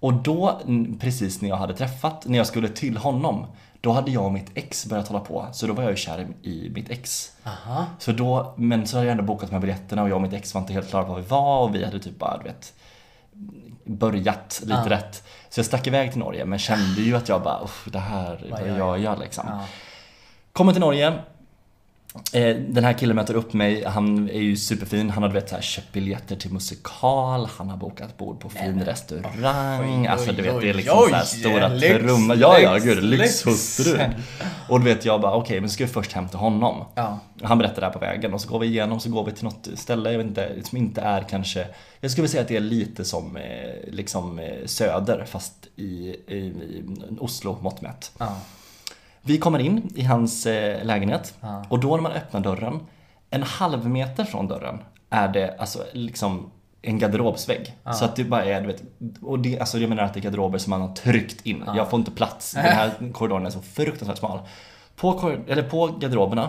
Speaker 2: och då, n- precis när jag hade träffat, när jag skulle till honom, då hade jag och mitt ex börjat hålla på. Så då var jag ju kär i- i mitt ex.
Speaker 1: Aha.
Speaker 2: Så då, men så hade jag ändå bokat de här biljetterna och jag och mitt ex var inte helt klara på vad vi var och vi hade typ bara, du vet, börjat lite
Speaker 1: Ja.
Speaker 2: rätt. Så jag stack iväg till Norge men kände ju att jag bara, "Uff, det här, vad
Speaker 1: gör
Speaker 2: jag,
Speaker 1: jag?"
Speaker 2: gör liksom.
Speaker 1: Ja.
Speaker 2: Kommer till Norge. Eh, Den här killen möter upp mig, han är ju superfin. Han har du vet, så här, köpt biljetter till musikal, han har bokat bord på fin restaurang.
Speaker 1: Oj,
Speaker 2: alltså du
Speaker 1: oj,
Speaker 2: vet, det är
Speaker 1: oj,
Speaker 2: liksom så här
Speaker 1: oj,
Speaker 2: stora
Speaker 1: lyx,
Speaker 2: trummor. Ja, ja,
Speaker 1: lyx,
Speaker 2: gud,
Speaker 1: lyx.
Speaker 2: lyxhustru. Och du vet, jag bara okej, men ska vi först hem till honom.
Speaker 1: Ja.
Speaker 2: Han berättar det här på vägen och så går vi igenom, så går vi till något ställe, jag vet inte, som inte är kanske Jag skulle säga att det är lite som eh, liksom eh, Söder fast i, i, i Oslo mått mätt.
Speaker 1: Ja.
Speaker 2: Vi kommer in i hans eh, lägenhet
Speaker 1: Ja.
Speaker 2: och då när man öppnar dörren, en halv meter från dörren är det alltså liksom en garderobsvägg. Så att det bara är, du vet, och det, alltså jag menar att det är garderober som man har tryckt in. Jag får inte plats, den här korridoren är så fruktansvärt smal. På, korrid- eller på garderoberna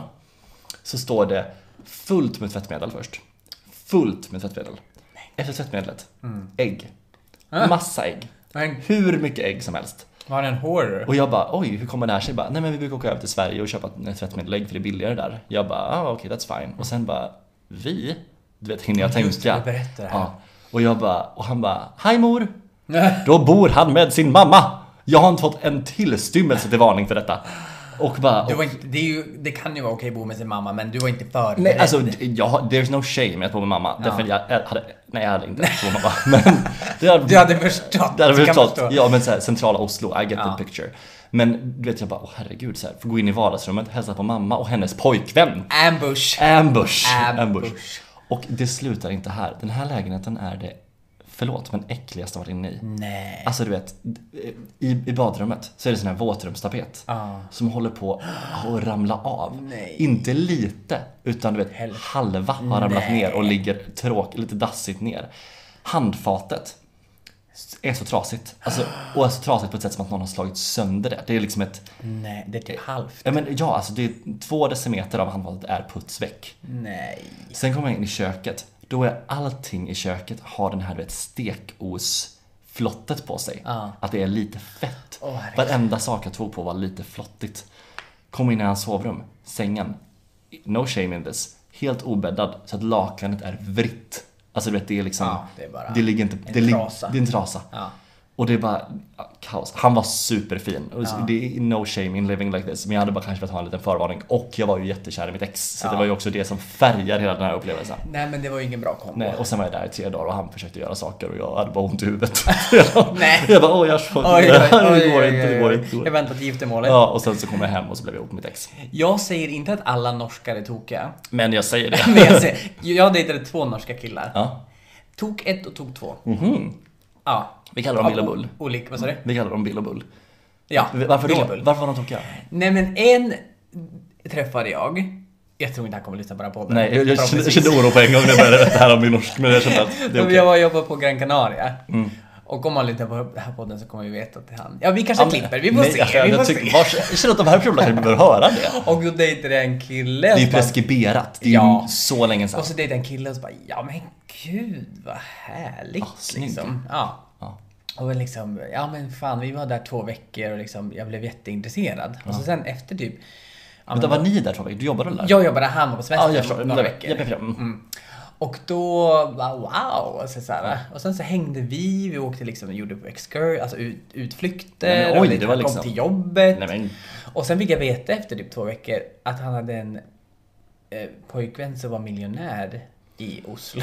Speaker 2: så står det fullt med tvättmedel först. Fullt med tvättmedel. Efter tvättmedlet, ägg. Massa ägg.
Speaker 1: Men
Speaker 2: Hur mycket ägg som helst.
Speaker 1: var den hård?
Speaker 2: Och jag bara, oj, hur kommer det här sig? Jag Bara, Nej men vi brukar åka över till Sverige och köpa ett tvättmedelägg för det är billigare där. Jag bara, ah, okej that's fine. Och sen bara, vi? Du vet, hinner jag tänka?
Speaker 1: Just det, du berättar det här.
Speaker 2: Ja. Och jag bara, och han bara, hej mor! Då bor han med sin mamma! Jag har inte fått en tillstymmelse till varning för detta. Och bara,
Speaker 1: Du var inte, det, är ju, det kan ju vara okej att bo med sin mamma men du var inte förberedd.
Speaker 2: Nej, alltså jag, there's no shame i att bo med mamma. Därför jag hade, nej jag hade inte bott med mamma. Men det hade,
Speaker 1: Du hade förstått,
Speaker 2: Det hade
Speaker 1: kan
Speaker 2: förstått.
Speaker 1: förstå.
Speaker 2: Ja men såhär centrala Oslo, I get
Speaker 1: Alltså, Ja.
Speaker 2: the picture. Men du vet jag bara, åh herregud så här, får gå in i vardagsrummet, hälsa på mamma och hennes pojkvän.
Speaker 1: Ambush.
Speaker 2: Ambush.
Speaker 1: Ambush.
Speaker 2: Och det slutar inte här. Den här lägenheten är det, förlåt men äckligaste jag varit inne i.
Speaker 1: Nej.
Speaker 2: Alltså du vet, i, i badrummet så är det sån här våtrumstapet
Speaker 1: Ja.
Speaker 2: som håller på att ramla av.
Speaker 1: Nej.
Speaker 2: Inte lite, utan du vet
Speaker 1: Helvete.
Speaker 2: halva har ramlat ner och ligger tråk, lite dassigt ner. Handfatet är så trasigt. Alltså, och är så trasigt på ett sätt som att någon har slagit sönder det. Det är liksom ett...
Speaker 1: Nej, det är typ halvt.
Speaker 2: Ja, men, ja alltså det är två decimeter av handfatet är putsväck.
Speaker 1: Nej.
Speaker 2: Sen kommer jag in i köket. Då är allting i köket har den här du vet, stekosflottet på sig.
Speaker 1: Ja.
Speaker 2: Att det är lite fett.
Speaker 1: Ah. Åh, herregud.
Speaker 2: Varenda sak jag tog på var lite flottigt. Kom in i hans sovrum, sängen. No shame in this. Helt obäddad, så att lakanet är vritt. Alltså du vet, det är liksom...
Speaker 1: Ja, det är bara
Speaker 2: ligger inte...
Speaker 1: en
Speaker 2: det lig-
Speaker 1: trasa.
Speaker 2: Det är en trasa.
Speaker 1: Ja.
Speaker 2: Och det är bara ja, kaos. Han var superfin. Och så- Det är no shame in living like this. Men jag hade bara kanske velat ha en liten förvarning. Och jag var ju jättekär i mitt ex. Så det var ju också det som färgar hela den här upplevelsen.
Speaker 1: Nej men det var ju ingen bra kombo.
Speaker 2: Nej, och sen var jag där i tre dagar och han försökte göra saker och jag hade bara ont i huvudet.
Speaker 1: Nej.
Speaker 2: Jag bara, åh jag får
Speaker 1: Oj,
Speaker 2: det
Speaker 1: oj, oj,
Speaker 2: här, det går
Speaker 1: oj,
Speaker 2: inte, det
Speaker 1: oj,
Speaker 2: går
Speaker 1: oj.
Speaker 2: inte. det går
Speaker 1: Jag
Speaker 2: inte."
Speaker 1: väntar till giftermålet.
Speaker 2: Ja, och sen så kom jag hem och så blev jag ihop med mitt ex.
Speaker 1: Jag säger inte att alla norskar är tokiga.
Speaker 2: Men jag säger det.
Speaker 1: Men jag, säger, jag dejtade två norska killar.
Speaker 2: Ja.
Speaker 1: Tok ett och tok två. Ja.
Speaker 2: Vi kallar dem Bill och Bull.
Speaker 1: Olika, vad sa du?
Speaker 2: Vi kallar dem Bill och Bull.
Speaker 1: Ja.
Speaker 2: Varför då?
Speaker 1: Billebull.
Speaker 2: Varför var de tokiga?
Speaker 1: Nej men en träffade jag. Jag tror inte han kommer lyssna på den här podden.
Speaker 2: Nej, jag, jag, kände, jag
Speaker 1: Förhoppningsvis.
Speaker 2: kände oro på en gång när jag började berätta här om min norsk, men jag kände att det är
Speaker 1: Men
Speaker 2: okej. Mm.
Speaker 1: Jag var och jobbade på Gran Canaria. Och om han lyssnar på den här podden så kommer vi veta att det är han. Ja, vi kanske
Speaker 2: Ja, men-
Speaker 1: klipper. Vi får
Speaker 2: Nej,
Speaker 1: se.
Speaker 2: alltså,
Speaker 1: vi får
Speaker 2: jag, jag,
Speaker 1: se.
Speaker 2: tycker, vars, jag känner att de här personerna kanske behöver höra det.
Speaker 1: Och då dejtade jag en kille.
Speaker 2: Det är
Speaker 1: och bara-
Speaker 2: preskriberat. Det är
Speaker 1: Ja.
Speaker 2: ju så länge sedan.
Speaker 1: Och så dejtade jag en kille och så bara, ja men gud vad härligt
Speaker 2: snygg.
Speaker 1: liksom. Ja.
Speaker 2: Ja.
Speaker 1: Och liksom, ja men fan vi var där två veckor och liksom jag blev jätteintresserad. Och så sen efter typ, ja,
Speaker 2: Vänta,
Speaker 1: men,
Speaker 2: var ni där Tobbe? Du jobbade där?
Speaker 1: jag jobbade, han var på semester
Speaker 2: Ja, jag förstår.
Speaker 1: några
Speaker 2: Jag-
Speaker 1: veckor.
Speaker 2: jag- jag- jag- mm.
Speaker 1: Och då, bara, wow! Och, så, så här, och sen så hängde vi, vi åkte liksom, gjorde excur, alltså ut, utflykter.
Speaker 2: Nej, men oj,
Speaker 1: och
Speaker 2: det var
Speaker 1: kom
Speaker 2: liksom-
Speaker 1: till jobbet.
Speaker 2: Nej, men-
Speaker 1: Och sen fick jag veta efter typ två veckor att han hade en eh, pojkvän som var miljonär i Oslo.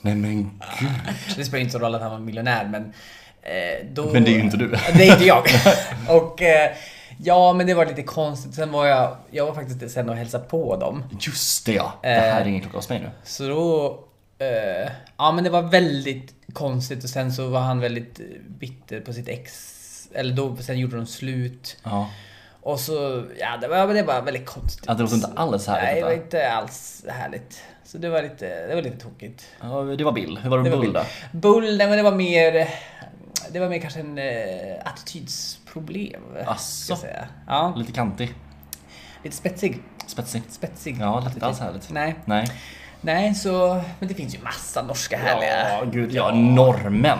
Speaker 2: Nej men gud.
Speaker 1: det spelar inte så roll att han var miljonär men... Eh, då...
Speaker 2: Men det är ju inte du.
Speaker 1: det är inte jag. och eh, ja, men det var lite konstigt. Sen var jag, jag var faktiskt sen och hälsade på dem.
Speaker 2: Just det ja. Det
Speaker 1: Eh.
Speaker 2: här ringer klockan hos mig nu.
Speaker 1: Så då... Eh, ja men det var väldigt konstigt och sen så var han väldigt eh, bitter på sitt ex. Eller då, sen gjorde de slut.
Speaker 2: Ja.
Speaker 1: Och så, ja det var, ja, men det var väldigt konstigt.
Speaker 2: Ja, det låter inte alls härligt,
Speaker 1: Nej, det var
Speaker 2: detta.
Speaker 1: inte alls härligt. Så det var lite, det var lite tokigt.
Speaker 2: Ja, Det var Bill. Hur var det
Speaker 1: Det var
Speaker 2: med Bull
Speaker 1: Bill.
Speaker 2: då?
Speaker 1: Bull, nej men det var mer... Det var mer kanske en eh, attitydsproblem.
Speaker 2: Asså.
Speaker 1: Ska jag säga. Ja,
Speaker 2: Lite kantig.
Speaker 1: lite spetsig.
Speaker 2: Spetsig.
Speaker 1: Spetsig.
Speaker 2: Ja, det lät
Speaker 1: attityd.
Speaker 2: inte alls härligt.
Speaker 1: Nej.
Speaker 2: Nej.
Speaker 1: Nej, så... Men det finns ju massa norska härliga...
Speaker 2: Ja, gud ja. Norrmän.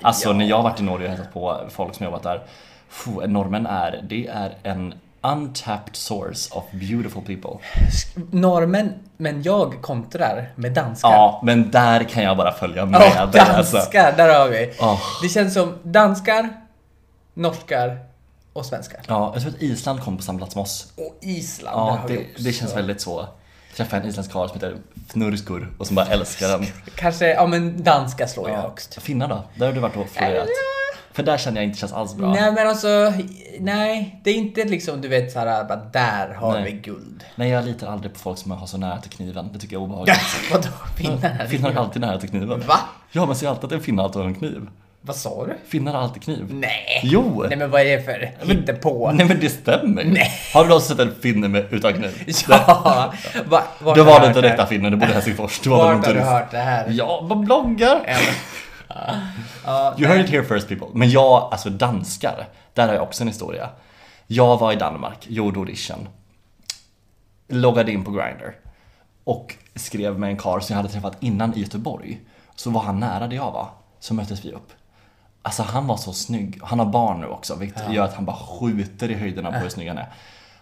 Speaker 2: Alltså när jag har varit i Norge och hälsat på folk som jobbat där. Puh, norrmän är, det är en untapped source of beautiful people.
Speaker 1: Normen, men jag kontrar med danskar.
Speaker 2: Ja, men där kan jag bara följa med.
Speaker 1: Ja,
Speaker 2: dig, alltså. Oh.
Speaker 1: danskar, där har vi.
Speaker 2: Åh.
Speaker 1: Det känns som danskar, norskar och svenskar.
Speaker 2: Ja, jag tror att Island kom på samma plats med oss.
Speaker 1: Och Island, där
Speaker 2: Ja,
Speaker 1: har
Speaker 2: det,
Speaker 1: vi också.
Speaker 2: det känns väldigt så. Träffa en isländsk karl som heter Fnurskur och som bara älskar den.
Speaker 1: Kanske, ja men danska slår jag
Speaker 2: Ja.
Speaker 1: högst.
Speaker 2: Finnar då? Där har du varit och florerat. För där känner jag inte känns alls bra.
Speaker 1: Nej men alltså, nej. Det är inte liksom du vet såhär, bara där har
Speaker 2: Nej.
Speaker 1: vi guld.
Speaker 2: Nej, jag litar aldrig på folk som har så nära till kniven. Det tycker jag är obehagligt.
Speaker 1: Vadå finnar?
Speaker 2: Finnar har alltid nära till kniven.
Speaker 1: Va?
Speaker 2: Ja, man ser alltid att en finne alltid har en kniv.
Speaker 1: Vad sa du?
Speaker 2: Finnar har alltid kniv.
Speaker 1: Nej.
Speaker 2: Jo!
Speaker 1: Mm. Nej men vad är det för hittepå?
Speaker 2: Nej men det stämmer ju.
Speaker 1: Nej.
Speaker 2: Har du då sett en finne med, utan kniv?
Speaker 1: Ja! Va, vart
Speaker 2: Då
Speaker 1: har du
Speaker 2: var
Speaker 1: hört
Speaker 2: det inte
Speaker 1: här?
Speaker 2: rätta finnen, det borde Helsingfors. Det var väl någon
Speaker 1: Vart har du
Speaker 2: turist.
Speaker 1: hört det här?
Speaker 2: Ja, vad bloggar! you heard it here first people. Men jag, alltså danskar, där har jag också en historia. Jag var i Danmark, gjorde audition. Loggade in på Grindr. Och skrev med en karl som jag hade träffat innan i Göteborg. Så var han nära där jag var. Så möttes vi upp. Alltså han var så snygg. Han har barn nu också, vilket gör att han bara skjuter i höjderna på hur snygg han är.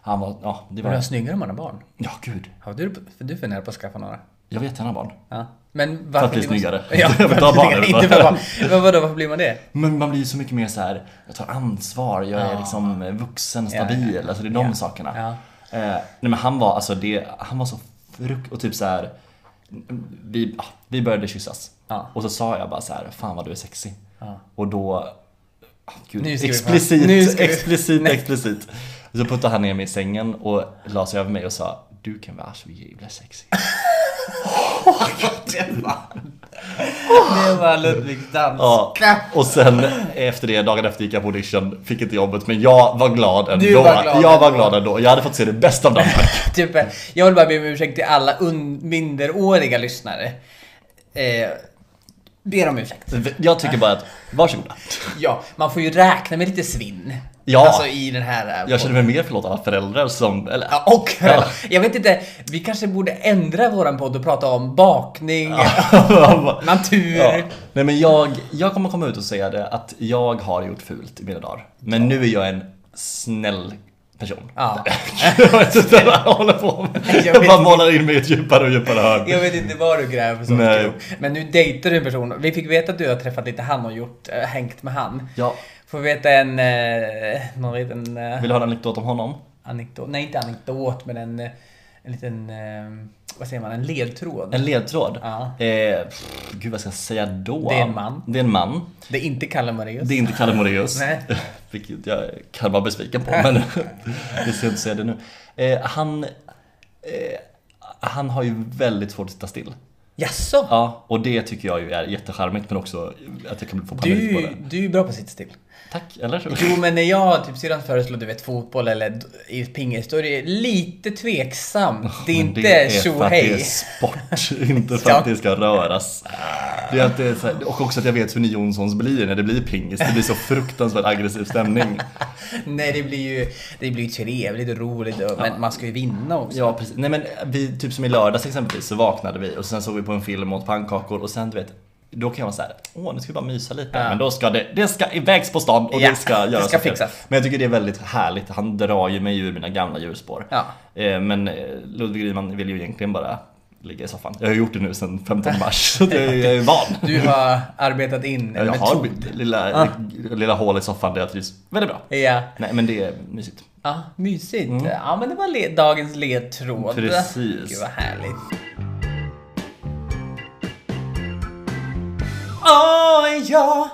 Speaker 2: Han var, ja,
Speaker 1: Men du
Speaker 2: det
Speaker 1: har
Speaker 2: Äh. var...
Speaker 1: snyggare om man har barn.
Speaker 2: Ja, gud.
Speaker 1: Har du, för du funderar på att skaffa några?
Speaker 2: Jag vet han har barn.
Speaker 1: Ja. Men
Speaker 2: För
Speaker 1: varför...
Speaker 2: att bli snyggare.
Speaker 1: Ja, för
Speaker 2: Jag vill ta
Speaker 1: att
Speaker 2: barnen.
Speaker 1: bli inte för barn. Men vadå, varför blir man det?
Speaker 2: Men man blir ju så mycket mer så här. jag tar ansvar, jag är liksom vuxen, stabil, alltså det är de sakerna.
Speaker 1: Ja.
Speaker 2: Eh, nej men han var alltså det, han var så frukt och typ så här. vi, ah, vi började kyssas.
Speaker 1: Ja.
Speaker 2: Och så sa jag bara så här, fan vad du är sexig. Och då, ah, gud,
Speaker 1: Nu ska vi fan-
Speaker 2: explicit,
Speaker 1: nu ska vi-
Speaker 2: explicit, explicit. Och så puttade han ner mig i sängen och la sig över mig och sa, du kan vara så jävla sexig.
Speaker 1: Det var Ludvigs dans.
Speaker 2: Ja, och sen efter det, dagen efter gick jag på audition, fick inte jobbet men jag var glad ändå.
Speaker 1: Du var glad
Speaker 2: jag var
Speaker 1: ändå.
Speaker 2: glad ändå. Jag hade fått se det bästa av Danmark.
Speaker 1: Typ, eh, jag vill bara be om ursäkt till alla un- minderåriga lyssnare. Eh, ber om ursäkt.
Speaker 2: Jag tycker bara att, varsågoda.
Speaker 1: Ja, man får ju räkna med lite svinn.
Speaker 2: Ja.
Speaker 1: Alltså i den här... eh,
Speaker 2: Jag känner mig mer förlåt alla föräldrar som, eller
Speaker 1: Ja, och
Speaker 2: Ja.
Speaker 1: Jag vet inte, vi kanske borde ändra våran podd och prata om bakning, natur.
Speaker 2: Ja. Nej men jag, jag kommer komma ut och säga det att jag har gjort fult i mina dagar. Men nu är jag en snäll person.
Speaker 1: Ja.
Speaker 2: jag vet inte vad jag håller på med.
Speaker 1: Jag
Speaker 2: Jag,
Speaker 1: vet
Speaker 2: bara
Speaker 1: inte.
Speaker 2: målar in mig i ett djupare och djupare hörn.
Speaker 1: Jag vet inte vad du gräver för sorts
Speaker 2: Nej.
Speaker 1: grop. Men nu dejtar du en person. Vi fick veta att du har träffat lite han och gjort, eh, hängt med han.
Speaker 2: Ja,
Speaker 1: Får vi veta en, eh, någon liten eh,
Speaker 2: vill du höra en anekdot om honom?
Speaker 1: anekdot? Nej, inte anekdot, men en, eh, en liten, eh, vad säger man, en ledtråd.
Speaker 2: En ledtråd?
Speaker 1: Ja.
Speaker 2: Eh, pff, gud vad ska jag säga då?
Speaker 1: Det är en man.
Speaker 2: Det är en man.
Speaker 1: Det är inte Kalle Moraeus.
Speaker 2: Det är inte Kalle Moraeus.
Speaker 1: Nej.
Speaker 2: Vilket jag kan vara besviken på, men vi ska inte säga det nu. Eh, han, eh, han har ju väldigt svårt att sitta still.
Speaker 1: Jaså?
Speaker 2: Ja, och det tycker jag ju är jättecharmigt men också att jag kan få panik på
Speaker 1: Du,
Speaker 2: det.
Speaker 1: du är bra på att sitta still.
Speaker 2: Tack, eller?
Speaker 1: Jo men när jag, typ syrran föreslår du vet fotboll eller d- i pingis, då är det lite tveksamt. Det är
Speaker 2: Men
Speaker 1: inte
Speaker 2: det är för att det är
Speaker 1: tjohej.
Speaker 2: sport, inte för att det ska röras. Det är att det är så här, och också att jag vet hur ni Jonssons blir när det blir pingis. Det blir så fruktansvärt aggressiv stämning.
Speaker 1: Nej det blir ju, det blir ju trevligt och roligt och, men man ska ju vinna också.
Speaker 2: Ja, precis. Nej men vi, typ som i lördags exempelvis, så vaknade vi och sen såg vi på en film och åt pannkakor och sen du vet då kan jag vara såhär, åh nu ska vi bara mysa lite.
Speaker 1: Ja.
Speaker 2: Men då ska det, det ska ivägs på stan och
Speaker 1: Ja,
Speaker 2: det ska
Speaker 1: det
Speaker 2: göras.
Speaker 1: ska
Speaker 2: saker.
Speaker 1: fixas.
Speaker 2: Men jag tycker det är väldigt härligt, han drar ju mig ur mina gamla djurspår.
Speaker 1: Ja.
Speaker 2: Eh, Men eh, Ludvig Riemann vill ju egentligen bara ligga i soffan. Jag har gjort det nu sedan 15 mars, så att jag är- jag är van.
Speaker 1: Du har arbetat in en
Speaker 2: Jag har
Speaker 1: metod. Ah.
Speaker 2: mitt lilla, lilla hål i soffan där jag trivs väldigt bra.
Speaker 1: Ja.
Speaker 2: Nej men det är mysigt.
Speaker 1: ja, mysigt. Ja men det var le- dagens ledtråd.
Speaker 2: Mm. Precis.
Speaker 1: Gud vad härligt. Oj ja,